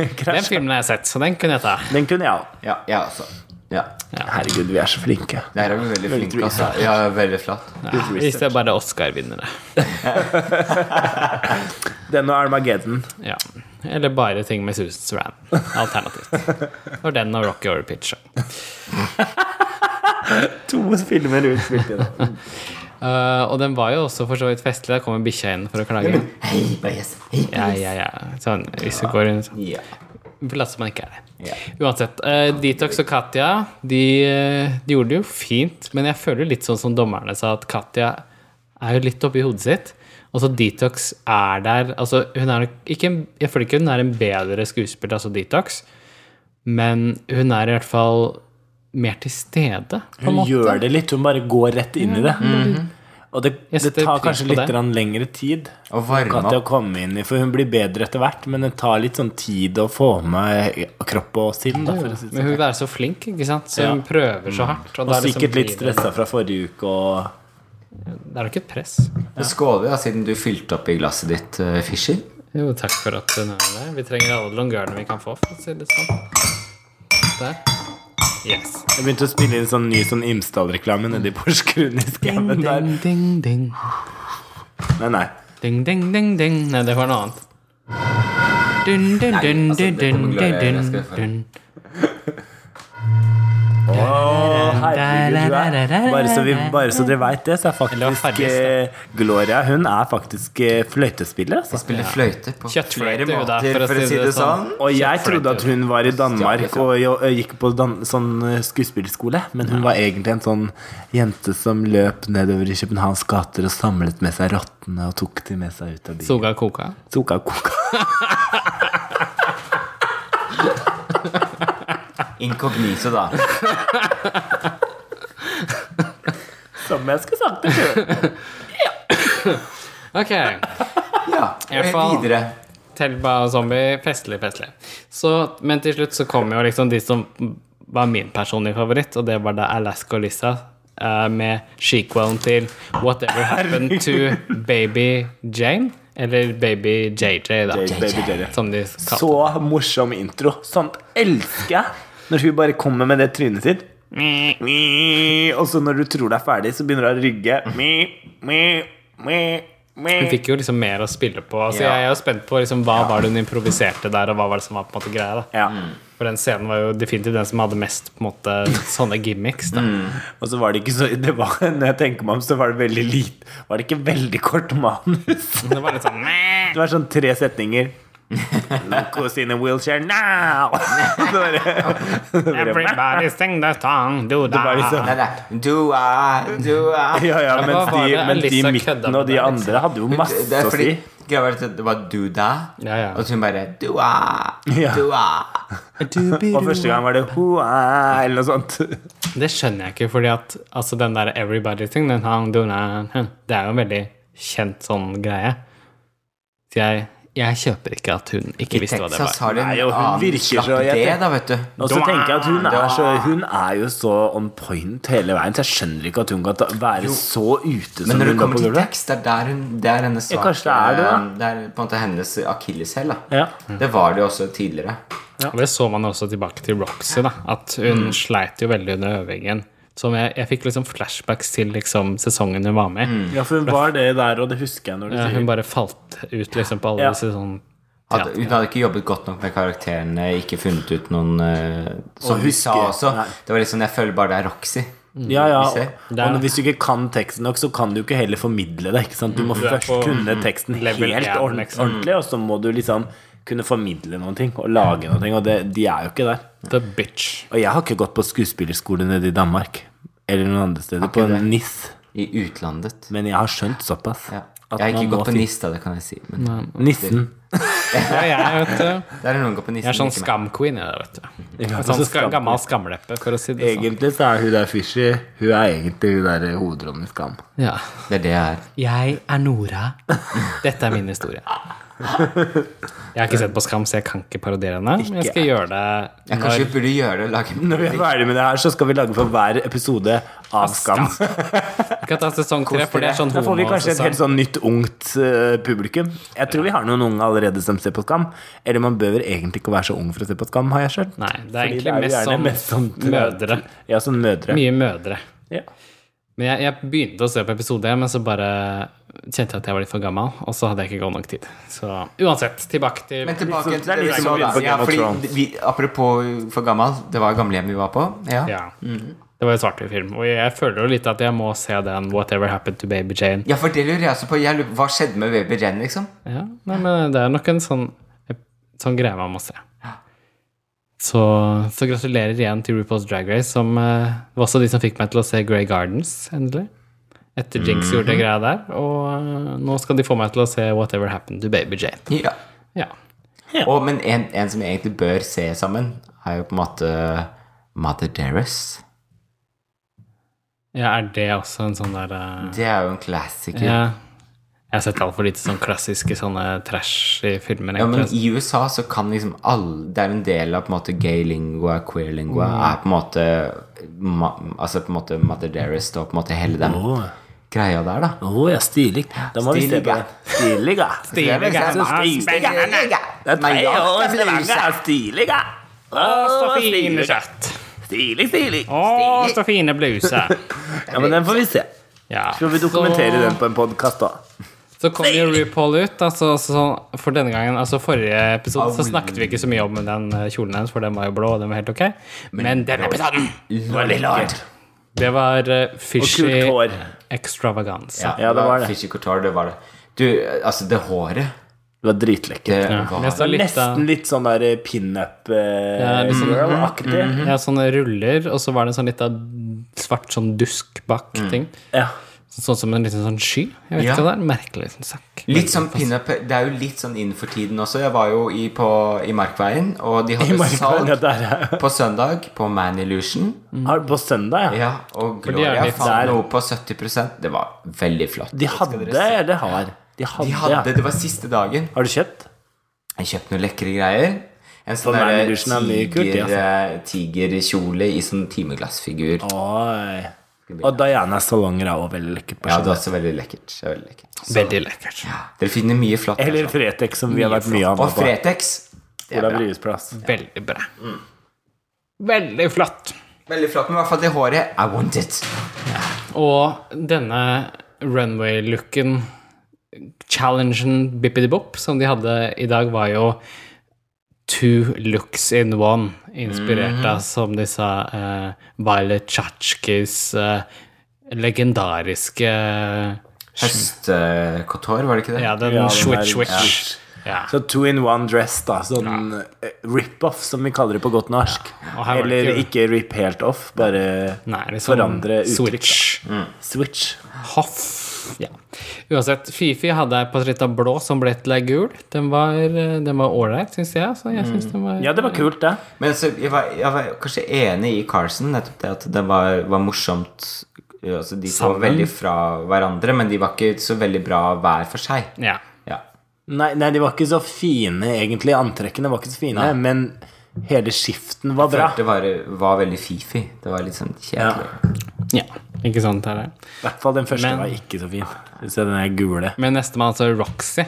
(laughs) har
Den
krasja.
filmen har jeg sett, så den kunne jeg ta.
Den kunne jeg òg.
Ja, ja, altså. Ja.
Herregud, vi er så flinke.
Der er vi veldig flinke, altså. Ja, veldig flatt.
Ja, hvis det er bare Oscar-vinnere.
Den og Armageddon.
Ja. Eller bare ting med Susan Strand. Alternativt. Og den og Rocky Horror Picture. Show.
To filmer utspilt i dag.
Eh, og den var jo også for så vidt festlig. Der kommer bikkja inn for å klage.
Hei, bajes. Hei,
Ja, ja, ja. Sånn, hvis du går rundt sånn.
Ja.
Vi får late som man ikke er det.
Ja.
Uansett. eh, Detox og Katja de, eh, de gjorde det jo fint, men jeg føler litt sånn som dommerne sa, at Katja er jo litt oppi hodet sitt. Og så Detox er der altså hun er nok ikke, en- Jeg føler ikke hun er en bedre skuespiller, altså Detox, men hun er i hvert fall mer til stede, på en
Hun
måte. Mm.
gjør det litt. Hun bare går rett inn i det. Og det,
Jeg
det
setter
tar
pris
kanskje
på
litt
det.
grann lengre tid
Og varme
Katja å
opp.
komme inn i, for hun blir bedre etter hvert, men det tar litt sånn tid å få med kropp og sinn. Da, for å si det
Men
sånn.
hun er så flink, ikke sant? Så
Ja.
hun prøver så hardt. Og,
Og
da er det
sikkert
liksom-
litt stressa fra forrige uke og
Det er jo ikke et press.
Men Skål, da, siden du fylte opp i glasset ditt, eh, Fischer.
Jo, takk for at du nevner det. Vi trenger alle longørene vi kan få. for å si det sånn. Der. Yes.
Jeg begynte å spille inn sånn ny sånn Imsdal-reklame nedi Porsgrunn i skauen der.
ding, ding.
Nei, nei.
Ding, ding, ding, ding. Nei, det var noe annet. Dun, dun, dun,
altså, det
dun, dun,
kommer glad jeg- jeg
dun,
skal få-
dun.
Å, herregud, du er bare så, vi, bare så dere veit det, så er
Eller det var
faktisk
Farris, da.
eh, Gloria Hun er faktisk eh, fløytespiller.
Jeg
Altså.
spiller fløyte på
Kjøttfløyte,
flere
jo, da,
måter, for å si det sånn.
Og jeg trodde at hun var i Danmark
Stjal
og jo- gikk på dan sånn eh, skuespillerskole, men hun var egentlig en sånn jente som løp nedover i Københavns gater og samlet med seg rottene og tok de med seg ut av byen.
Soga koka.
Soka koka.
Inkognito, sånn. da.
Som jeg skulle sagt det før.
Ok.
Ja,
I hvert fall.
videre.
Telba og zombie. Festlig, festlig. Så, men til slutt så kom jo liksom de som var min personlige favoritt, og det var da Alaska og Lisa eh, med sequelen til Whatever Happened to Baby Jane. Eller Baby JJ, da.
Baby Jerry.
Som de kalte
Så morsom intro. Sånt elsker jeg! Når hun bare kommer med det trynet sitt.
det.
Mi. Og så når du tror det er ferdig, så begynner du å rygge. Mi, mi, mi, mi.
Hun fikk jo liksom mer å spille på. Altså,
Ja.
Jeg er jo spent på liksom, hva var det hun improviserte der, og hva var det som var på en måte greia. da
Ja.
For den scenen var jo definitivt den som hadde mest på en måte, sånne gimmicks. da
Mm. Og så var det ikke så det var, Når jeg tenker meg om, så var det veldig lite Var det ikke veldig kort manus?
Det var litt sånn "Meh."
Det var sånn tre setninger. Look who's in a wheelchair now! Det var- det var-
Everybody sing the song, do
var
that.
liksom-
Nei, nei. Du er, du er
(laughs) Ja, ja,
hva
mens
var
de,
det
mens de
Alyssa
i
kødda
midten
med
og de
der, liksom?
andre hadde jo
Det
masse
er
å
fordi
si.
greia var at det var du da,
Ja, ja.
og så hun bare du er,
Ja.
du er.
liksom-
(laughs)
Og første gang var det hoa, eller noe sånt.
Det skjønner jeg ikke, fordi at altså, den der everybody thing, den hang, do that, hm, det er jo en veldig kjent sånn greie. Så jeg, jeg kjøper ikke at hun ikke
I
visste hva det
Texas
var.
har de en
Nei, og hun
annen
virker så-
slapp
jeg
det,
tenker-
da, vet du.
Og så tenker jeg at hun
Da-
er, så, hun er jo så on point hele veien, så jeg skjønner ikke at hun kan ta, være så ute som
Men når det
hun var
kommer
på
til
gulvet.
tekst, det er der hun Det er hennes svake
kanskje det er det, da.
det er på en måte hennes akilleshæl, da.
Ja. Mm.
Det var det jo også tidligere.
Og det så man også tilbake til Roxy, da, at
Mm.
hun sleit jo veldig under øvingen. Som jeg, jeg fikk liksom flashbacks til liksom, sesongen hun var med i.
Mm.
ja, for hun var det der, og det husker jeg når du
Eh,
sier
Hun bare falt ut liksom, på alle
Ja.
disse sånn
At hun hadde ikke jobbet godt nok med karakterene, ikke funnet ut noen eh, Som
Å
hun
huske.
sa også.
Nei. Mm.
Det var liksom Jeg føler bare det er Roxy.
Ja, ja.
Vi ser.
Og, og hvis du ikke kan teksten nok, så kan du ikke heller formidle det. ikke sant? Mm. Du må
er
først
på
kunne teksten helt
level én,
ordent-
liksom.
ordentlig, og så må du liksom kunne formidle noen ting og lage noen ting, og det, de er jo ikke der.
The bitch.
Og jeg har ikke gått på skuespillerskole nede i Danmark eller noen andre steder, på NIS,
I utlandet.
men jeg har skjønt såpass.
Ja.
at
Jeg
man
har ikke
må
gått på
fin-
NIS, da, det kan jeg si. Men
Nissen.
Ja, jeg, vet du.
der er noen som går på NIS.
jeg er sånn
ikke meg.
skamqueen, jeg, da, vet du.
Ja,
Sånn
så
ska,
skam-
gammel skamleppe, for å si det sånn.
Egentlig så er hun der Fishy. Hun er egentlig hun der hovedrollen i Skam.
sånn. Ja.
Det er det jeg er.
Jeg er Nora. Dette er min historie. Jeg har ikke sett på Skam, så jeg kan ikke parodiere henne. Men jeg skal gjøre det
Jeg kanskje burde gjøre det. Lage
(laughs) Når vi er ferdig med det her, så skal vi lage for hver episode av Skam.
Vi kan ta sesong tre, for det er sånn
Da får vi kanskje et
homosesong.
helt sånn nytt ungt eh, publikum. Jeg tror vi har noen unge allerede som ser på Skam. Eller man bør egentlig ikke være så ung for å se på Skam, har jeg skjønt.
Nei, det er
sånn- Fordi jo
egentlig mest
gjerne
sånn mødre.
Ja, sånn mødre.
Mye mødre.
Ja.
Men jeg, jeg begynte å se på episode 1, men så bare kjente jeg at jeg var litt for gammel, og så hadde jeg ikke god nok tid. Så uansett, tilbake til
Men tilbake
Det er
til det
litt
vi
som å begynne
var
på
da. Ja,
Game of
fordi
Thrones.
vi, apropos for gammel, det var gamlehjemmet vi var på. Ja. Ja.
Ja. Det var jo svart-hvitt-film, og jeg føler jo litt at jeg må se den Whatever Happened to Baby Jane.
for det lurer jeg også på. Jeg lurer, hva skjedde med baby Jen, liksom?
Ja, nei, men det er nok en sånn, sånn greie man må se. Så, så gratulerer igjen til RuPaul's Drag Race, som eh, var også de som fikk meg til å se Grey Gardens, endelig. Etter Jinx gjorde greia der. Og eh, nå skal de få meg til å se Whatever Happened to Baby Jane.
Ja.
Ja.
Og, men en, en som vi egentlig bør se sammen, er jo på en måte Mother Dearest.
ja, er det også en sånn der
Mm.
eh,
Det er jo en klassiker.
ja. Jeg har sett altfor lite sånn klassiske sånne trash i filmer.
Ja, men
egentlig.
I USA så kan liksom alle Det er en del av på en måte gay lingua, queer lingua
Mm.
Er på en måte ma, Altså på en måte Mother Dearest og på en måte hele den
Åh,
greia der, da.
Åh, ja, stilig. Da må vi se på
Stilig, ja.
den. Stilig, ja.
Stilig, ja.
Så stilig, ja. liksom Det er tre år i Stavanger. Stilig, ja. Åh,
så fine
stilig.
kjøtt!
Stilig, stilig.
Å, så fine bluser!
Ja, men den får vi se.
Ja.
Skal vi dokumentere
så-
den på en podkast, da?
Så kom jo RuPaul ut, altså, så for denne gangen, altså forrige episode, så
Au.
snakket vi ikke så mye om den eh, kjolen hennes, for den var jo blå, og den var helt ok. Men denne episoden,
Lord, lord.
det var eh,
Og
fishy
kult hår.
extravaganza.
Ja, det var det.
Fishy Couture, det var det. Du, altså, det håret
Det var dritlekkert.
Det
Ja,
var
men jeg så Altså, litt av
Nesten litt sånn der eh,
Ja, litt sånn-
pinup-girl-aktig.
ja, sånne ruller, og så var det en sånn litt av svart sånn dusk bak
Mm.
ting.
Ja.
Sånn som en liten sånn sky. Jeg vet
Ja.
ikke hva det er. Merkelig sånn sak.
Litt sånn pinup Det er jo litt sånn inn for tiden også. Jeg var jo i, på, i Markveien, og de
I
hadde
markedet
salg
der er- eh,
på søndag på Man Illusion.
Mm.
Har- På søndag, ja.
Ja, og
de er
Gloria
litt
fant
der.
noe på 70 Det var veldig flott.
De hadde eller har? De hadde,
De hadde,
ja.
Det var siste dagen.
Har du kjøpt?
Jeg kjøpte noen lekre greier. En
For
sånn derre
Magnus er mye kult, ja.
tiger, eh, tigerkjole i sånn timeglassfigur.
Oi. Og Dianas salonger er også veldig lekkert. på
Ja,
søndag.
det var også veldig lekkert. Det var Veldig lekkert.
sånn.
Veldig lekkert.
Dere finner mye flott. der,
Eller
sånn.
Fretex, som vi har vært mye av
Og
nå på
Fretex. Det er
Olav
bra.
Ryes plass.
Veldig bra. Veldig flott.
Veldig flott, men i hvert fall det håret. I want it.
Og denne runway-looken, challengen bippidi-bopp, som de hadde i dag, var jo two looks in one, inspirert av som disse eh, Violet Chachkis eh, legendariske
Høstkotår, var det ikke det?
Ja, den
Ja, den der-
switch-switch. Ja.
Så two in one dress, da. Sånn eh, rip-off, som vi kaller det på godt norsk.
Og her var det
Eller
ikke-
ikke rip helt off, bare
Nei, liksom
forandre uttrykk.
switch.
Switch.
Hoff. Ja. Uansett, Fifi hadde ei patrita blå som ble til ei gul. Den var eh, den var ålreit, syns jeg. Så jeg synes den var
Mm. Ja, det var kult, det.
Men så, jeg, var, jeg var kanskje enig i Carson, nettopp det at det var, var morsomt altså, De to var
Sammen.
veldig fra hverandre, men de var ikke så veldig bra hver for seg.
Ja.
Ja.
Nei, nei, de var ikke så fine, egentlig. Antrekkene var ikke så fine, men hele skiften var bra.
Det var, var veldig fifi. Det var litt sånn kjedelig.
Ja, ikke sant det er det.
I hvert fall den første
Men-
var ikke så fin. Se den der gule.
Men nestemann altså Roxy,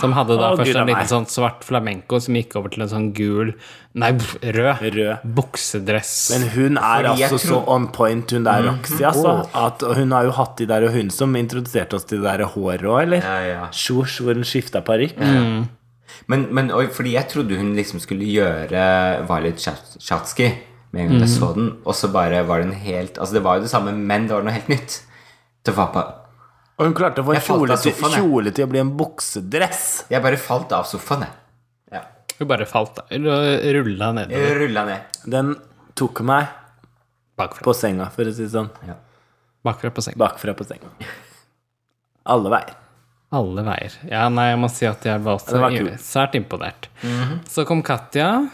som hadde da
Å,
først
Gud,
en
nei.
liten sånn svart flamenco som gikk over til en sånn gul, nei, pff, rød,
Rød.
buksedress.
Men hun er
Fordi jeg
altså så
tror- Mhm.
on point, hun der Roxy, altså. At og hun har jo hatt de der, og hun som introduserte oss til det der håret òg, eller?
Ja, ja.
Skjors hvor hun skifta parykk.
Men, men og, fordi jeg trodde hun liksom skulle gjøre Violet Chats- Chatsky med en gang jeg
Mm.
så den, og så bare var den helt Altså, det var jo det samme, men det var noe helt nytt. Det var bare
Og hun klarte å få en
Jeg falt
kjole
av
til,
sofaen, jeg.
kjole til å bli en buksedress.
Jeg bare falt av sofaen, jeg. Ja.
Hun bare falt da, og rulla
Eh,
nedover
Jeg rulla ned.
Den tok meg
bakfra,
på senga, for å si det sånn.
bakfra på senga.
Bakfra på senga. Alle veier.
Alle veier. Ja, nei, jeg må si at jeg var også
Ja, det var
i- svært imponert. Så kom Katja,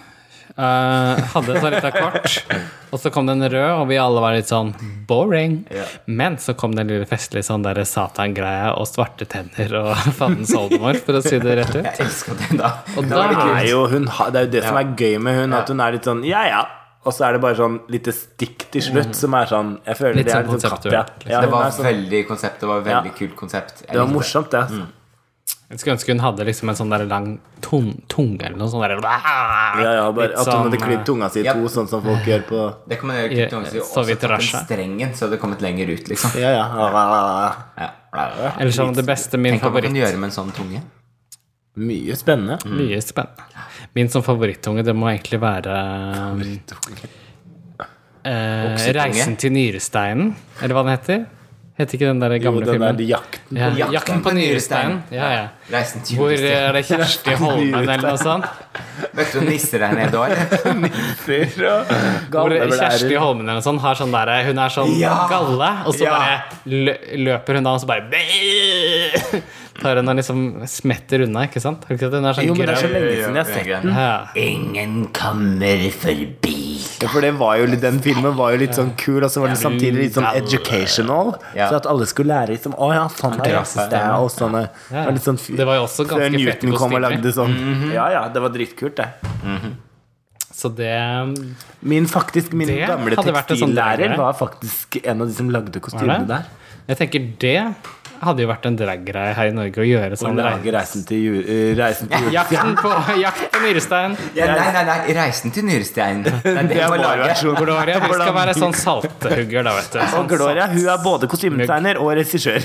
eh, hadde et sånt lite kort, og så kom den rød, og vi alle var litt sånn boring. Men så kom den lille festlige sånn derre satan-greia og svarte tenner og (laughs) faddens oldemor, for å si det rett ut.
Jeg elska den da.
Og
Da var det
da-
kult.
er jo, hun, har- det er jo det som er gøy med hun, at hun er litt sånn ja, ja. Og så er det bare sånn lite stikk til slutt som er sånn Jeg føler
Mm. Litt
det er
sånn
litt sånn
konseptuelt,
Katja.
liksom.
Ja,
det
hun
var Mm.
er sånn,
veldig konsept. Det var veldig
Ja.
kult konsept. Jeg
det var
likte
morsomt, det.
Mm.
altså.
Jeg skulle ønske hun hadde liksom en sånn der lang tun tunge eller noe sånn der
Ja, ja, bare
Litt
At hun hadde
sånn,
klippet tunga si i
ja.
to, sånn som folk gjør på
Det kan man gjøre
Ja,
kult. Ja,
så vidt
også tatt den
Russia.
strengen, så hadde det kommet lenger ut, liksom.
Ja, ja.
Ja.
Eller sånn det beste, min
Tenk hva man
favoritt.
kan gjøre med en sånn tunge.
Mye spennende.
Mye spennende. Min som favorittunge, det må egentlig være um, eh,
Oksetunge.
'Reisen til nyresteinen', eller hva den heter? Heter ikke den der gamle
jo, den
filmen?
der jakten
ja.
Jakten
'Jakten
på
på
nyresteinen.
nyresteinen'. Ja, ja.
Reisen til
Hvor
julestedet.
eh, er det Kjersti Holmen eller noe sånt?
Vet du nisser der
(laughs)
nede òg?
Nisser og
(laughs) Hvor
gamle
Kjersti
blærer.
Holmen eller noe sånt har sånn der, hun er sånn
Ja!
galle, og så
Ja.
bare lø- løper hun da, og så bare (laughs) Tar hun og liksom smetter unna, ikke sant? Har du ikke sett? Hun er sånn
Jo, men det er så
grønn.
lenge siden jeg har sett den.
Ja.
Ingen kommer forbi.
Ja, for det var jo, litt- Den filmen var jo litt sånn kul, og så var den samtidig litt sånn educational.
Ja.
Så at alle skulle lære liksom Å ja, sånn er rasestemmer og sånne
Ja.
var litt sånn f-
Det var jo også
Før
ganske fette
Newton kom og
kostymer.
lagde sånn.
Mhm.
Ja ja, det var dritkult, det.
Så det
Min faktisk, min
Det
gamle
hadde vært en sånn
tekstillærer
greie.
var faktisk en av de som lagde
Var
kostymene
det?
der.
Jeg tenker det hadde jo vært en drag-greie her i Norge å gjøre
Han
sånn.
lager Reisen til ju- eh, Reisen til jul.
Jakten på, jakten på nyrestein.
Ja, nei, nei, nei, Reisen til
(laughs)
nyresteinen. Det er
(laughs)
det
Det er
jeg må
vår
lage.
versjon.
Gloria, vi skal være sånn salthugger, da, vet du. Sånn
(laughs) Og Gloria hun er både kostymetegner og regissør.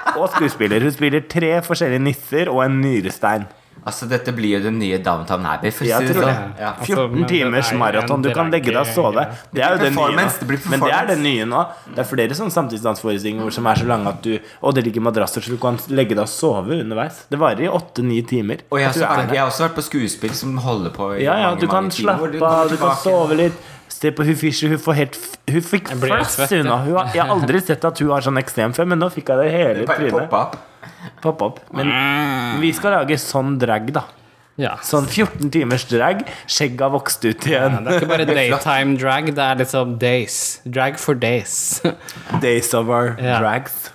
(laughs) Og skuespiller. Hun spiller tre forskjellige nisser og en nyrestein.
Altså, dette blir jo den nye Downtown Abbey. For å
Ja,
si det
tror
sånn.
det.
Ja.
Altså,
14
men det
timers
er jo
maraton.
en
Du kan legge deg og sove.
drag-
Det er jo det nye
performance, det
nå.
blir
Men det er
performance.
det nye nå. Det er flere sånne samtidsdansforestillinger hvor- som er så lange at du Og det ligger madrasser, så du kan legge deg og sove underveis. Det varer i 8-9 timer.
Og jeg, har
Du
også
er
vært, jeg har også vært på skuespill som holder på i
Ja, ja,
mange,
du kan
mange timer, hvor
slappe av, du kan
tilbake.
sove litt. Se på hun Fischer, hun får helt f- Hun fikk
blir helt
flass
svett, ja.
unna. Hun har, jeg har aldri sett at hun har sånn ekstrem før, men nå fikk jeg det i hele
Bare
trynet.
poppe opp.
Pop opp. Men vi skal lage sånn drag, da.
Ja.
Sånn 14 timers drag. Skjegget har vokst ut igjen.
Ja, det er ikke bare daytime drag, det er liksom days. Drag for days. (laughs) Det
Days of our
Ja.
drags.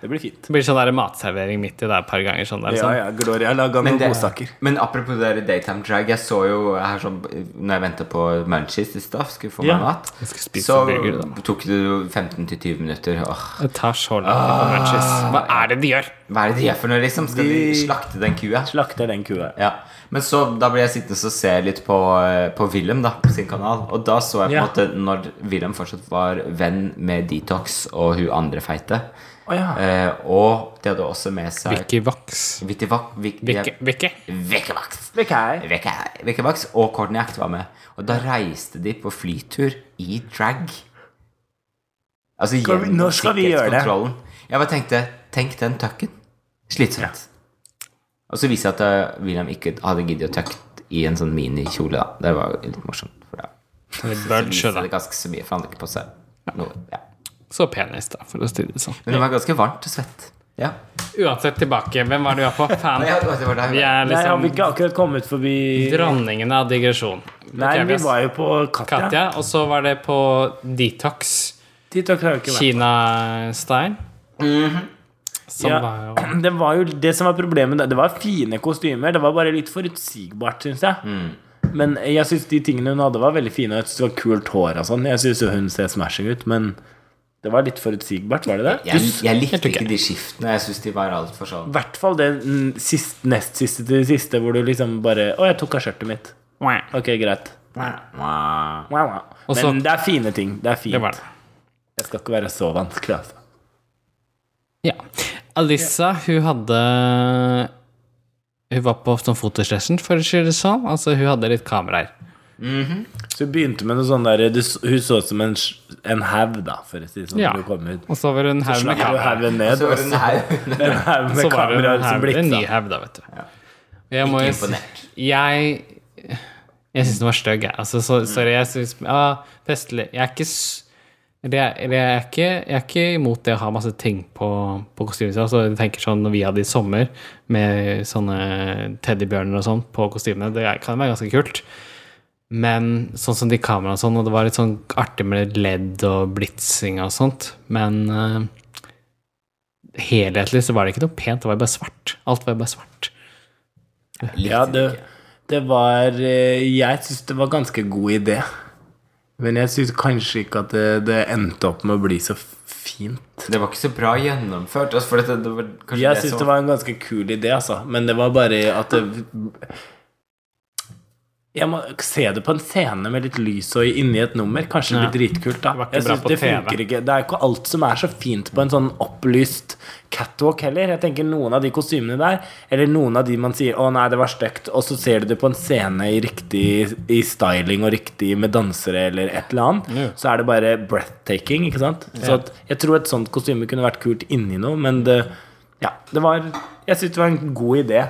Det blir fint.
blir sånn der matservering midt i der et par ganger. Sånn der,
Ja,
sånn.
ja, Gloria laga noen
Men, det,
godsaker.
men apropos det der daytime drag Jeg så jo her sånn Når jeg ventet på munchies i stad, skulle få
Ja.
meg mat,
Jeg skal spise
så
burger, da.
tok det jo 15-20 minutter. Åh,
Det tar så lang tid på matches.
Ah.
Hva er det de gjør?
hva er det de gjør for noe, liksom? Skal de
De-
slakte den kua?
Slakter den kua.
Ja. Men så da ble jeg sittende og se litt på, eh, på Willem da, på sin kanal. Og da så jeg på en
Ja.
måte når Willem fortsatt var venn med Detox og hun andre feite.
Å ja.
Eh, og de hadde også med seg
Vicky Vox.
Vittivak- Vik- de-
Vicky. Vicky.
Vikkevaks.
Fikk jeg.
Vikke- Vikkevaks og Courtney Act var med. Og da reiste de på flytur i drag. Altså
Skal vi-
gjennom
når skal vi gjøre det?
sikkerhetskontrollen. Jeg bare tenkte Tenk den tøkken. Slitsomt. Og så viste det seg at eh, William ikke hadde giddet å tøkke i en sånn minikjole. da. Det var jo litt morsomt. For da
Bird,
viste det ganske så mye, for han hadde ikke på seg noe. Ja.
Så penis, da, for å si det sånn.
Men det var ganske varmt og svett. Ja.
Uansett, tilbake. Hvem var det vi var
(laughs)
på? Faen.
Nei, det var
Vi
der.
er
Nei, har vi
liksom
ikke akkurat kommet forbi
dronningene av digresjon.
Nei,
Ok,
vi
har
var jo på Katja.
Katja, og så var det på Detox.
TikTok har jo ikke vært
Kina-stein. Mhm. Som
Ja.
var jo
(clears throat) det var jo det som var problemet. da. Det var fine kostymer. Det var bare litt forutsigbart, syns jeg. Men jeg syns de tingene hun hadde, var veldig fine. Og jeg synes det var kult hår og sånn. Jeg syns jo hun ser smashing ut, men det var litt forutsigbart, var det det?
Jeg, jeg likte
ok.
ikke de skiftene. Jeg syns de var altfor sånn
I hvert fall det mm, sist, nest siste til det siste, hvor du liksom bare Å, jeg tok av skjørtet mitt. Ok, greit. Wow, wow. Men
Og så-
det er fine ting. Det er fint.
Det var det.
Jeg skal ikke være så vanskelig, altså.
Ja. Alissa, hun hadde Hun var på sånn fotosession, for å si det sånn. Altså, hun hadde litt kameraer.
Så vi begynte med noe sånn der du, s- Hun så ut som en, s- en haug, da, for å si det sånn.
Ja.
når du kom ut.
Og så var hun haug med
Slapp jo
kameraer.
haugen ned,
Så
og
var det en haug
en haug med
Så var hun
kameraer
en
som
haug, en ny
bliksa.
haug, da, vet du. Jeg må
Ikke
jo
imponert.
si Jeg jeg syns den var stygg, jeg. Altså, så, sorry, jeg syns ah, Festlig. Jeg er ikke s- det er, det er ikke, jeg er ikke imot det å ha masse ting på, på kostymet sitt. Altså, jeg tenker sånn når vi hadde i sommer, med sånne teddybjørner og sånn på kostymene, det er- kan være ganske kult. Men sånn som de kameraene og sånn, og det var litt sånn artig med ledd og blitsing og sånt, men eh, helhetlig så var det ikke noe pent, det var jo bare svart. Alt var jo bare svart.
Ja, det, det var eh, Jeg syns det var ganske god idé. Men jeg syns kanskje ikke at det, det endte opp med å bli så fint.
Det var ikke så bra gjennomført. Altså, for det, det var kanskje
Jeg
det
syns
som
det var en ganske kul idé, altså. Men det var bare at det jeg må se det på en scene med litt lys og inni et nummer. Kanskje det blir dritkult, da.
var ikke
Jeg
bra
synes
på
det
TV.
funker ikke. Det er ikke alt som er så fint på en sånn opplyst catwalk heller. Jeg tenker noen av de kostymene der, eller noen av de man sier 'Å nei, det var stygt', og så ser du det på en scene i riktig i styling og riktig med dansere eller et eller annet, så er det bare breathtaking, ikke sant? Så at, jeg tror et sånt kostyme kunne vært kult inni noe, men det Ja, det var Jeg syns det var en god idé.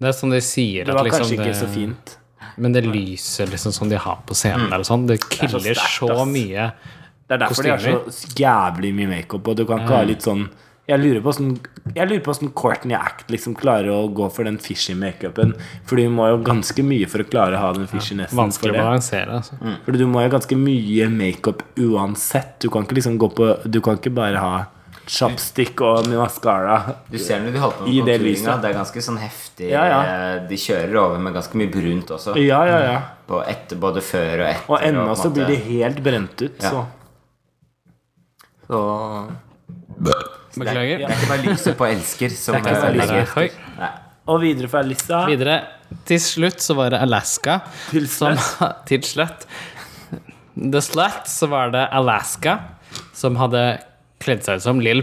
Det er sånn de sier
Det
at
var
liksom
kanskje ikke
det-
så fint. Mm.
Men det lyset liksom som de har på scenen der og sånn, det killer
sterkt,
så,
ass.
mye.
Det er derfor de har så jævlig mye makeup, og du kan ikke ha litt sånn Jeg lurer på hvordan, jeg lurer på hvordan Courtney Act liksom klarer å gå for den fishy makeupen. For du må jo ganske mye for å klare å ha den fishinessen.
Vanskelig
for
å
det. Mm,
balansere. Altså.
For du må jo ganske mye makeup uansett. Du kan ikke liksom gå på Du kan ikke bare ha chapstick og mascara.
Du ser når de holder på med
I det
konturinga,
lyset.
det er ganske sånn heftig
Ja, ja.
eh, De kjører over med ganske mye brunt også.
Ja, ja, ja.
På etter, både før og etter.
Og ennå
på en
så
måte-
blir de helt brent ut,
Ja.
så
Så
Beklager.
Det er ikke bare lyset på elsker som
Det er ikke bare
eh,
lyset.
Der er- Oi.
Og videre fra Alissa.
Videre. Til slutt så var det Alaska.
Til
Som, (laughs) til slutt. The Slut så var det Alaska som hadde kledd seg ut som Lill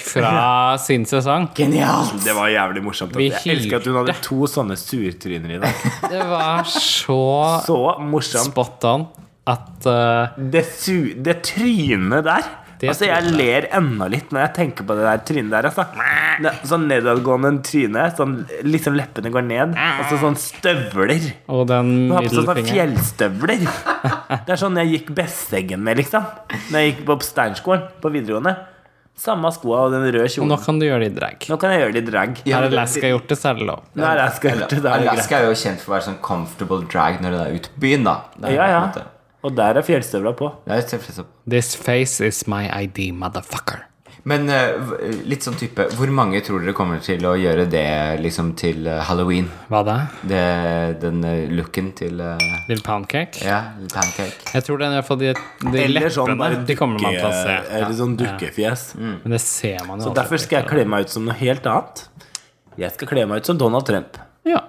(laughs)
fra sin sesong.
Genialt!
Det var jævlig morsomt. at-
Vi
Jeg elsker at hun hadde to sånne surtryner i dag.
Det var så
Så morsomt.
spot on at eh,
Det, su det trynet der
Det
Altså, jeg
trynet.
ler ennå litt når jeg tenker på det der trynet der. Altså. Det, er sånn nedadgående tryne. Sånn, liksom leppene går ned. Og så sånn støvler.
Og
Hun
den
har på seg sånn
middelfingeren.
fjellstøvler. Det er sånn jeg gikk Besseggen med, liksom. Når jeg gikk på Steinskolen på videregående. Samme skoa og den røde
Nå
kjolen.
kan du gjøre det i drag.
Nå kan jeg gjøre litt drag.
Ja,
Har
men det-
Alaska gjort det, så er det lov.
Nå er Alaska
Eller-
ute, da er det greit.
Alaska er jo kjent for å være sånn comfortable drag når det er ute på byen, da. Det er,
Ja,
på en
ja.
måte-
Og der er fjellstøvla på.
Det er jo tilfreds opp.
This face is my ID, motherfucker.
Men eh, v- litt sånn type Hvor mange tror dere kommer til å gjøre det liksom til eh, halloween?
Hva da?
Det, den eh, looken til eh,
Lill Poundcake?
Ja, pancake.
Jeg tror den er for de, de
Eller sånn
leppene.
bare
de kommer man til å se.
dukke- eller sånn dukkefjes.
Men det ser man jo
Så derfor skal jeg kle meg ut som noe helt annet. Jeg skal kle meg ut som Donald Trump.
Ja.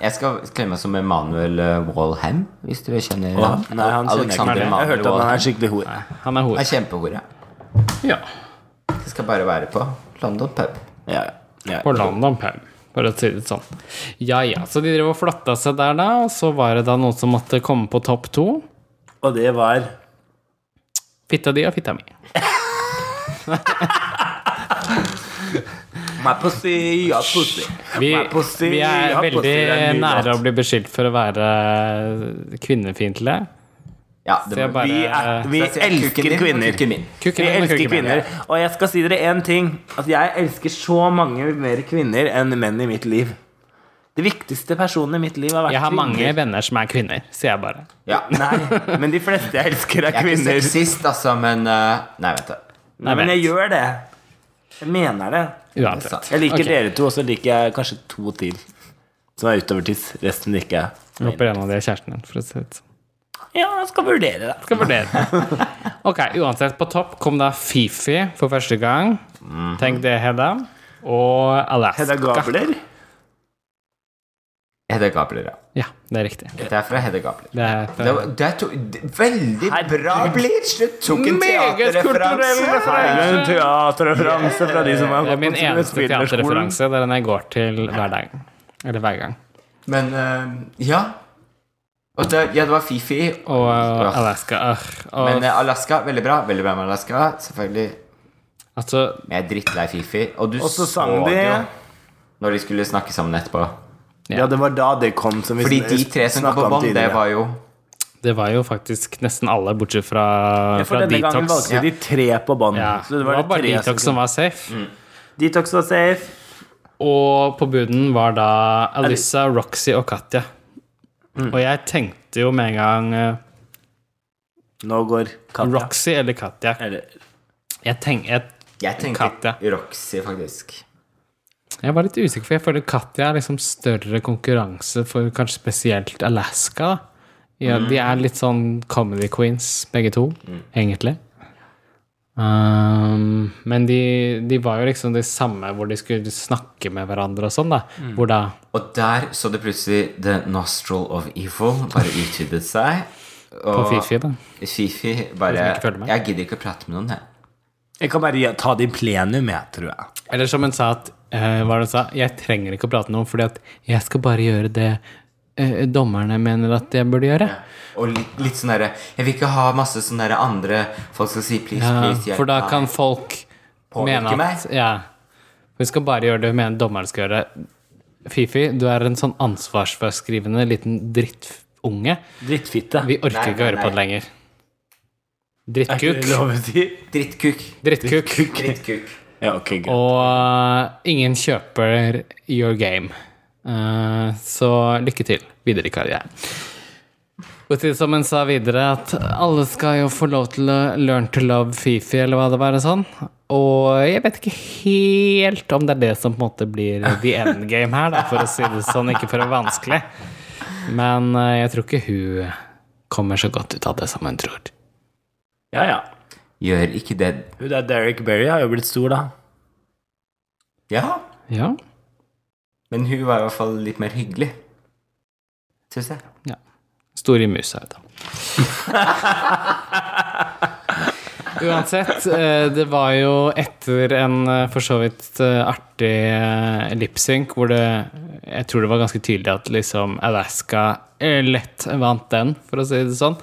Jeg skal kle meg som Emanuel eh, Walham, hvis dere kjenner ham.
Nei, han kjenner jeg ikke.
Alexander
Jeg
Emanuel
hørte at han
Walham.
er skikkelig hore.
Han er
Han
hore.
er kjempehore.
Ja.
Det skal bare være på London pub.
Ja, ja.
På London Pub, for å si det sånn. Ja ja, så de drev og flotta seg der, da. Og så var det da noen som måtte komme på topp to.
Og det var
Fitta di og fitta mi.
My pussy, your pussy.
Vi,
My pussy,
vi er
your pussy,
veldig
det er en ny
nære
låt.
å bli beskyldt for å være kvinnefiendtlige.
Ja, det
Så jeg
må-
Vi,
bare
er, vi
Så jeg sier kukken
elsker
din og kukken
kvinner.
min.
Kukken
Vi
din og
elsker
kukken min.
kvinner. Og jeg skal si dere én ting. At jeg elsker så mange mer kvinner enn menn i mitt liv. Det viktigste personen i mitt liv har vært
Jeg har mange
kvinner.
venner som er kvinner, sier jeg bare.
Ja.
Nei, men de fleste jeg elsker, er
Jeg er ikke
kvinner.
sexist, altså, men eh, Nei, vent, da.
Nei, men jeg gjør det. Jeg mener det.
Uansett.
Jeg liker
Ok.
dere to, og så liker jeg kanskje to til. Som er utover tiss. Resten liker jeg.
Jeg Håper en av de er kjæresten din, for å si det sånn.
Ja, jeg skal vurdere det.
Skal vurdere. (laughs) Ok, uansett, på topp kom da Fifi for første gang. Tenk det, Hedda. Og Alaska.
Mhm. Hedda Gabler.
Hedda Gabler, ja.
Ja, det er riktig.
Dette er fra Hedda Gabler.
Det er
Det var, det to, det, veldig bra bleach! Du tok en
Meget kulturell
teaterreferanse!
Det er en teaterreferanse fra de som har
det er
gått
min
på
eneste
skuespillerskolen.
teaterreferanse. Det er den jeg går til hver dag. Eller hver gang.
Men eh, ja. Og det, ja, det var Fifi.
Og
Ja.
Alaska. øh, Og,
Men eh, Alaska, veldig bra. Veldig bra med Alaska, selvfølgelig.
altså,
Men jeg er drittlei Fifi. Og du
Og så sang de
det jo når de skulle snakke sammen etterpå.
Ja, det var da det kom, som vi
Fordi de tre som kom
snakket
på
om
bånd, det
tidligere.
var jo
det var jo faktisk nesten alle, bortsett fra,
Ja,
fra
for denne gangen
Detox.
valgte de tre på bånd.
Ja,
Så det var, det
bare
tre som
Detox som var safe.
Detox var safe.
Og på bunnen var da Alyssa, Roxy og Katja. Og jeg tenkte jo med en gang eh,
Nå går Katja.
Roxy eller Katja.
Eller,
Jeg, tenk, jeg,
Jeg
Katja.
tenker Roxy, faktisk.
jeg var litt usikker, for jeg føler Katja er liksom større konkurranse for kanskje spesielt Alaska. da. Ja, De er litt sånn comedy queens, begge to, egentlig. Um, men de, de var jo liksom de samme hvor de skulle snakke med hverandre og sånn, da. Hvor da
Og der så det plutselig The Nostril of Evil bare utvidet seg.
På
Og
Fifi, da.
Fifi bare
Jeg følger med.
Jeg gidder ikke å prate med noen, jeg.
Jeg kan bare gi- ta det i plenum, jeg, tror jeg.
Eller som hun sa at eh, Hva var det hun sa? Jeg trenger ikke å prate med noen, fordi at jeg skal bare gjøre det eh, dommerne mener at jeg burde gjøre.
Og litt, litt sånn derre Jeg vil ikke ha masse sånn derre andre folk skal si please,
Ja,
please. hjelp
Eh, for da
meg».
kan folk
Påvirke
mene at
meg.
Ja. Hun skal bare gjøre det hun mener dommeren skal gjøre. Fifi, du er en sånn ansvarsfraskrivende liten drittunge.
Drittfitte.
Vi orker
Nei,
ikke å
nei,
høre på det
nei.
lenger.
Er ikke det
Drittkuk.
lov å si?
Drittkuk.
Drittkuk.
Drittkuk.
Ja, ok, greit.
Og eh, ingen kjøper your game. Eh, så lykke til videre i karrieren. Utilsommen sa videre at alle skal jo få lov til å learn to love Fifi, eller hva det var. og Sånn. Og jeg vet ikke helt om det er det som på en måte blir the end game her, da, for å si det sånn, ikke for å være vanskelig. Men eh, jeg tror ikke hun kommer så godt ut av det som hun tror.
Ja, ja.
Gjør ikke det
Hun der Derek Berry har jo blitt stor, da.
Ja,
Ja.
men hun var i hvert fall litt mer hyggelig. Syns jeg.
ja. Stor i musa, da. (laughs) Uansett, eh, det var jo etter en eh, for så vidt eh, artig eh, lipsync hvor det Jeg tror det var ganske tydelig at liksom Alaska eh, lett vant den, for å si det sånn.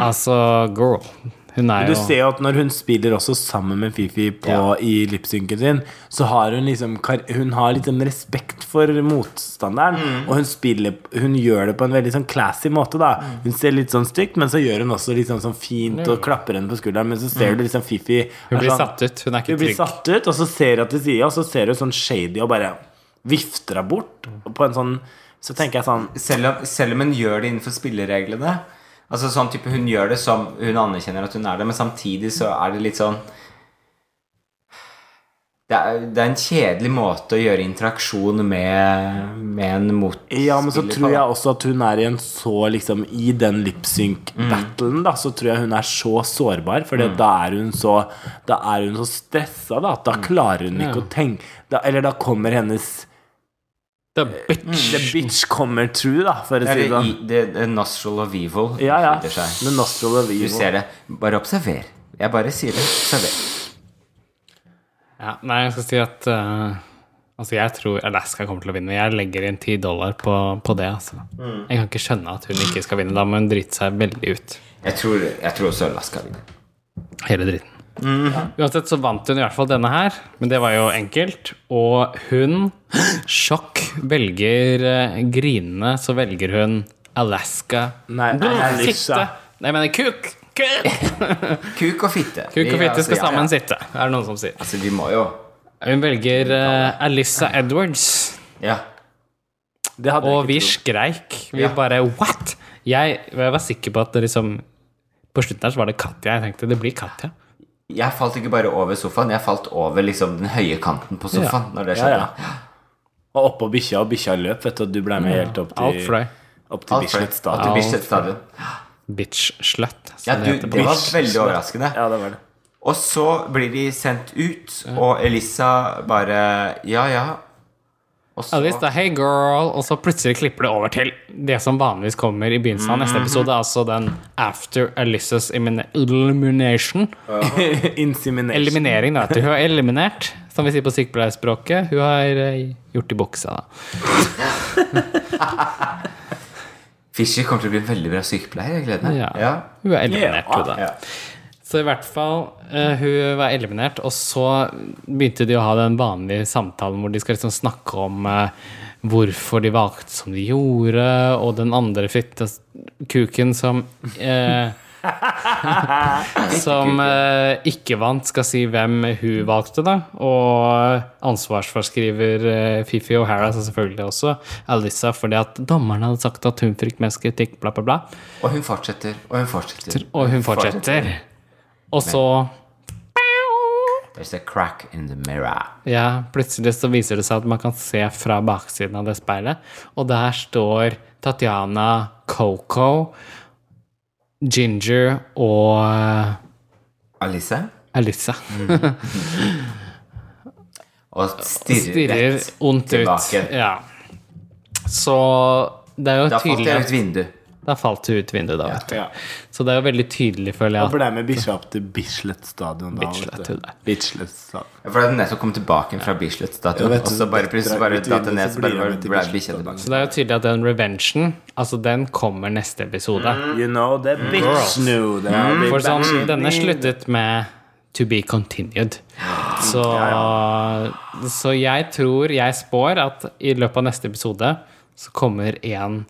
Altså, girl. Hun er
Mhm. Du
jo
ser jo at når hun spiller også sammen med Fifi på,
Ja.
i lipsynken sin, så har hun liksom kar- Hun har liksom respekt for motstanderen,
Mm.
og hun spiller Hun gjør det på en veldig sånn classy måte, da.
Mm.
Hun ser litt sånn stygt, men så gjør hun også litt sånn, sånn fint og klapper henne på skulderen, men så ser du liksom Fifi
Mm. Hun
er
blir
sånn-
satt ut. Hun er ikke
Hun blir
trygg.
satt ut, og så ser hun at de sier, og så ser hun sånn shady og bare vifter henne bort på en sånn Så tenker jeg sånn
selv om, selv om hun gjør det innenfor spillereglene Altså sånn type Hun gjør det som hun anerkjenner at hun er det, men samtidig så er det litt sånn Det er, det er en kjedelig måte å gjøre interaksjon med, med en motspiller
Ja, men så tror
på, da.
jeg også at hun er i en så liksom I den lipsync-battlen, da, så tror jeg hun er så sårbar, for da er hun så Da er hun så stressa, da, at da klarer hun ikke
Ja.
å tenke da, Eller da kommer hennes
The bitch.
The bitch kommer true, da, for å
Det er
si det
det,
sånn.
i- det, det nostril of evil
Ja, ja.
utvikler seg.
The nostril of
Du
evil.
ser det. Bare observer. Jeg bare sier det. Observer.
Ja, nei, jeg skal si at eh, Altså, jeg tror Alaska kommer til å vinne. Jeg legger inn 10 dollar på, på det, altså. Jeg kan ikke skjønne at hun ikke skal vinne. Da må hun drite seg veldig ut.
Jeg tror, jeg tror også Alaska vinner.
Hele dritten. Uansett så vant hun i hvert fall denne her, men det var jo enkelt. Og hun, sjokk, velger eh, grinende, så velger hun Alaska.
Nei,
Brr,
Alicia.
Fitte! Nei, jeg mener kuk! Kuk
Kuk og fitte.
Kuk og
Vi-
fitte
altså,
skal
ja, ja.
sammen sitte, er det noen som sier.
Altså, vi må jo
Hun velger uh, Alissa Edwards.
Ja.
Det hadde
Og
jeg
vi
ikke trodd.
skreik. Vi
Ja.
bare What?! Jeg, jeg var sikker på at det liksom På slutten her så var det Katja. Jeg tenkte det blir Katja.
Jeg falt ikke bare over sofaen, jeg falt over liksom den høye kanten på sofaen. Når det
Ja,
skjedde
ja. Og oppå bikkja, og bikkja løp, vet du, og du ble med helt opp
Alt for
til,
deg.
opp til
Alt for-
Bislett
at det
stadion.
blir Bislett stadion.
Bitch slut.
Ja,
som
du,
heter på
det var
norsk.
veldig overraskende.
Ja, det var (laughs) det.
Og så blir de sendt ut, og Elisa bare Ja, ja. Og så
Alice da, hey girl, og så plutselig klipper det over til det som vanligvis kommer i begynnelsen av neste
Mhm.
episode, altså den after Alices elimination.
Insemination.
Eliminering, da. At hun har eliminert, som vi sier på sykepleierspråket. Hun har eh, gjort i buksa, da.
Fischer kommer til å bli en veldig bra sykepleier. Jeg gleder meg.
Ja.
Ja.
Hun er eliminert,
Ja,
hun, da.
Ja.
Så i hvert fall, eh, hun var eliminert, og så begynte de å ha den vanlige samtalen hvor de skal liksom snakke om eh, hvorfor de valgte som de gjorde, og den andre fittekuken som eh, Som eh, ikke vant, skal si hvem hun valgte, da. Og ansvarsforskriver eh, Fifi O'Hara så selvfølgelig også Alissa, fordi at dommerne hadde sagt at hun fikk mest kritikk, bla, bla, bla.
Og hun fortsetter, og hun fortsetter.
Og hun fortsetter. Og så
There's a crack in the mirror.
Ja, plutselig så viser det seg at man kan se fra baksiden av det speilet, og der står Tatjana, Coco, Ginger og eh,
Alice?
Alissa.
Og stirrer
Stirrer
rett
ondt ut. Eh,
tilbake.
Ja. Så det er jo
Da falt
tydelig
jeg
at-
ut vinduet.
Da falt du ut vinduet, da. vet du.
Ja.
Så det er jo veldig tydelig, føler jeg.
For det er med Bislett til Bislett stadion. da, vet
Bislett
du.
til det.
Bislett stadion.
Ja, For da hadde nettopp kommet tilbake fra Bislett
Ja,
stadion,
vet
og
du,
så bare plutselig
drar
bare
ut
datt det
vinduet,
ned,
så
så
blir
bare
han
var-
til
ble
Bislett
bikkja tilbake.
Så det er jo tydelig at den revengen, altså den kommer neste episode.
Mm.
You know the bitch knew the big
For sånn,
bang.
denne sluttet med To be continued. Så, så jeg tror, jeg spår, at i løpet av neste episode så kommer en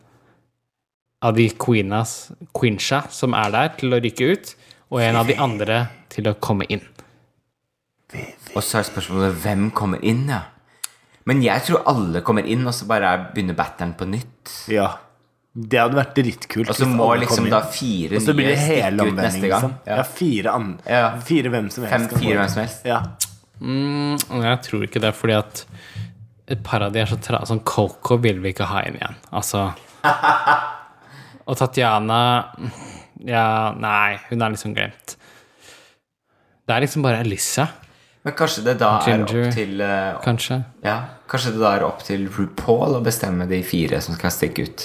av de queenas, queensa som er der, til å ryke ut, og en av de andre til å komme inn.
Og så er spørsmålet hvem kommer inn, ja. Men jeg tror alle kommer inn, og så bare er- begynner batteren på nytt.
Ja. Det hadde vært dritkult.
Og så
hvis
må
alle kom
liksom
inn.
da fire
Og så blir
nye
det hele
stikke ut
omvending.
neste gang.
Liksom. Ja.
Ja.
fire, an
Ja.
fire hvem som helst.
Fem,
kan få
fire
det.
hvem som helst.
Ja.
Mm, jeg tror ikke det, fordi at et par av de er så tra... Sånn Coco vil vi ikke ha inn igjen. Altså Og Tatjana Ja, nei, hun er liksom glemt. Det er liksom bare Elissa,
Men kanskje det da er
Ginger.
opp til eh,
kanskje.
Ja, kanskje det da er opp til RuPaul å bestemme de fire som skal stikke ut.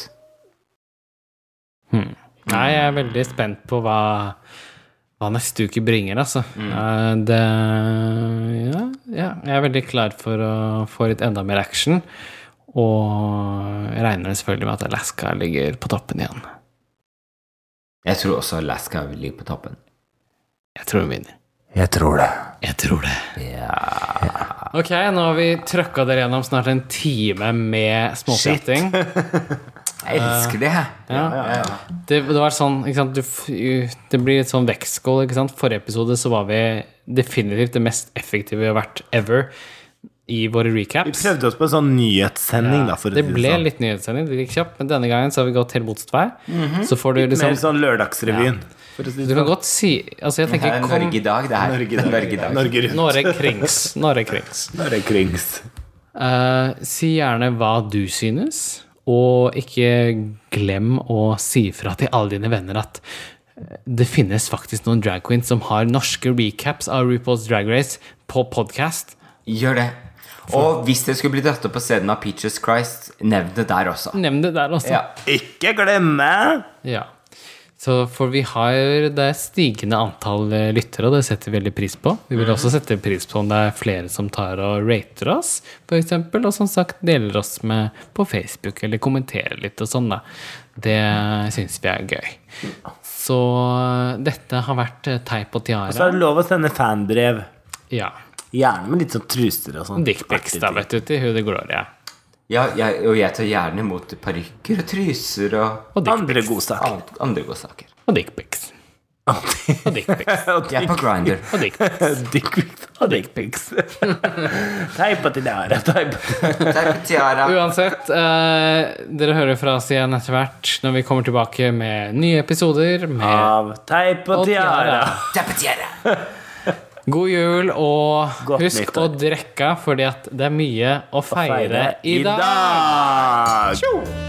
Nei, jeg er veldig spent på hva, hva neste uke bringer, altså. Eh, Det ja, ja, jeg er veldig klar for å få litt enda mer action. Og jeg regner selvfølgelig med at Alaska ligger på toppen igjen.
Jeg tror også Alaska vil ligge på toppen.
Jeg tror hun vinner.
Jeg tror det.
Jeg tror det.
Ja.
Ok, nå har vi trøkka dere gjennom snart en time med småprating. (laughs)
Jeg elsker det.
Ja.
Ja.
Det, det var sånn, ikke sant, du, f- det blir et sånn vektskål, ikke sant. Forrige episode så var vi definitivt det mest effektive vi har vært ever i våre
Vi
recaps.
prøvde oss på en sånn nyhetssending, da. For å
det
si
ble
sånn.
litt nyhetssending, det gikk kjapt, men denne gangen så har vi gått helt motsatt vei. Så får du
Mer
liksom
sånn Lørdagsrevyen. For å si
Du
det
kan godt si Altså, jeg
Det
tenker
er
kom
Norge i dag, det her.
Norge, i
Norge i
dag.
dag.
Norge rundt.
Norge Krings. Norge Krings.
Norge krings.
Eh, si gjerne hva du synes, og ikke glem å si fra til alle dine venner at eh, det finnes faktisk noen drag queens som har norske recaps av RuPaul's Drag Race på podkast.
Gjør det. Og hvis dere skulle bli dratt opp på scenen av Peaches Christ, nevn det der også.
Nevn det der også.
Ja.
Ikke glemme!
Ja. Så for vi har det stigende antall eh, lyttere, og det setter vi veldig pris på. Vi vil
Mm.
også sette pris på om det er flere som tar og rater oss, f.eks. Og som sagt deler oss med på Facebook, eller kommenterer litt og sånn, da. Det syns vi er gøy. Så eh, dette har vært eh, Teip og
Så
Tiara.
Altså, er det lov å sende fanbrev.
Ja.
Gjerne med litt sånn truser og sånn.
Dickpics, da, vet du, til Hude Gloria.
Ja, jeg, og jeg tar gjerne imot parykker og truser og
Og dick-
Andre godsaker.
an- andre godsaker.
og dickpics. Og
(laughs)
dickpics.
Jeg er på Grinder.
Og dickpics.
Dickpics og (laughs) dickpics. Teipa til dere. Teipa.
Takk, Tiara.
Uansett, eh, dere hører fra oss igjen etter hvert når vi kommer tilbake med nye episoder med
Av teip og
Og
tiara.
tiara.
Takk, Tiara.
God jul, og
Godt
husk å
nyttår.
drikke, fordi at det er mye å feire, i dag.
dag.
Tjo!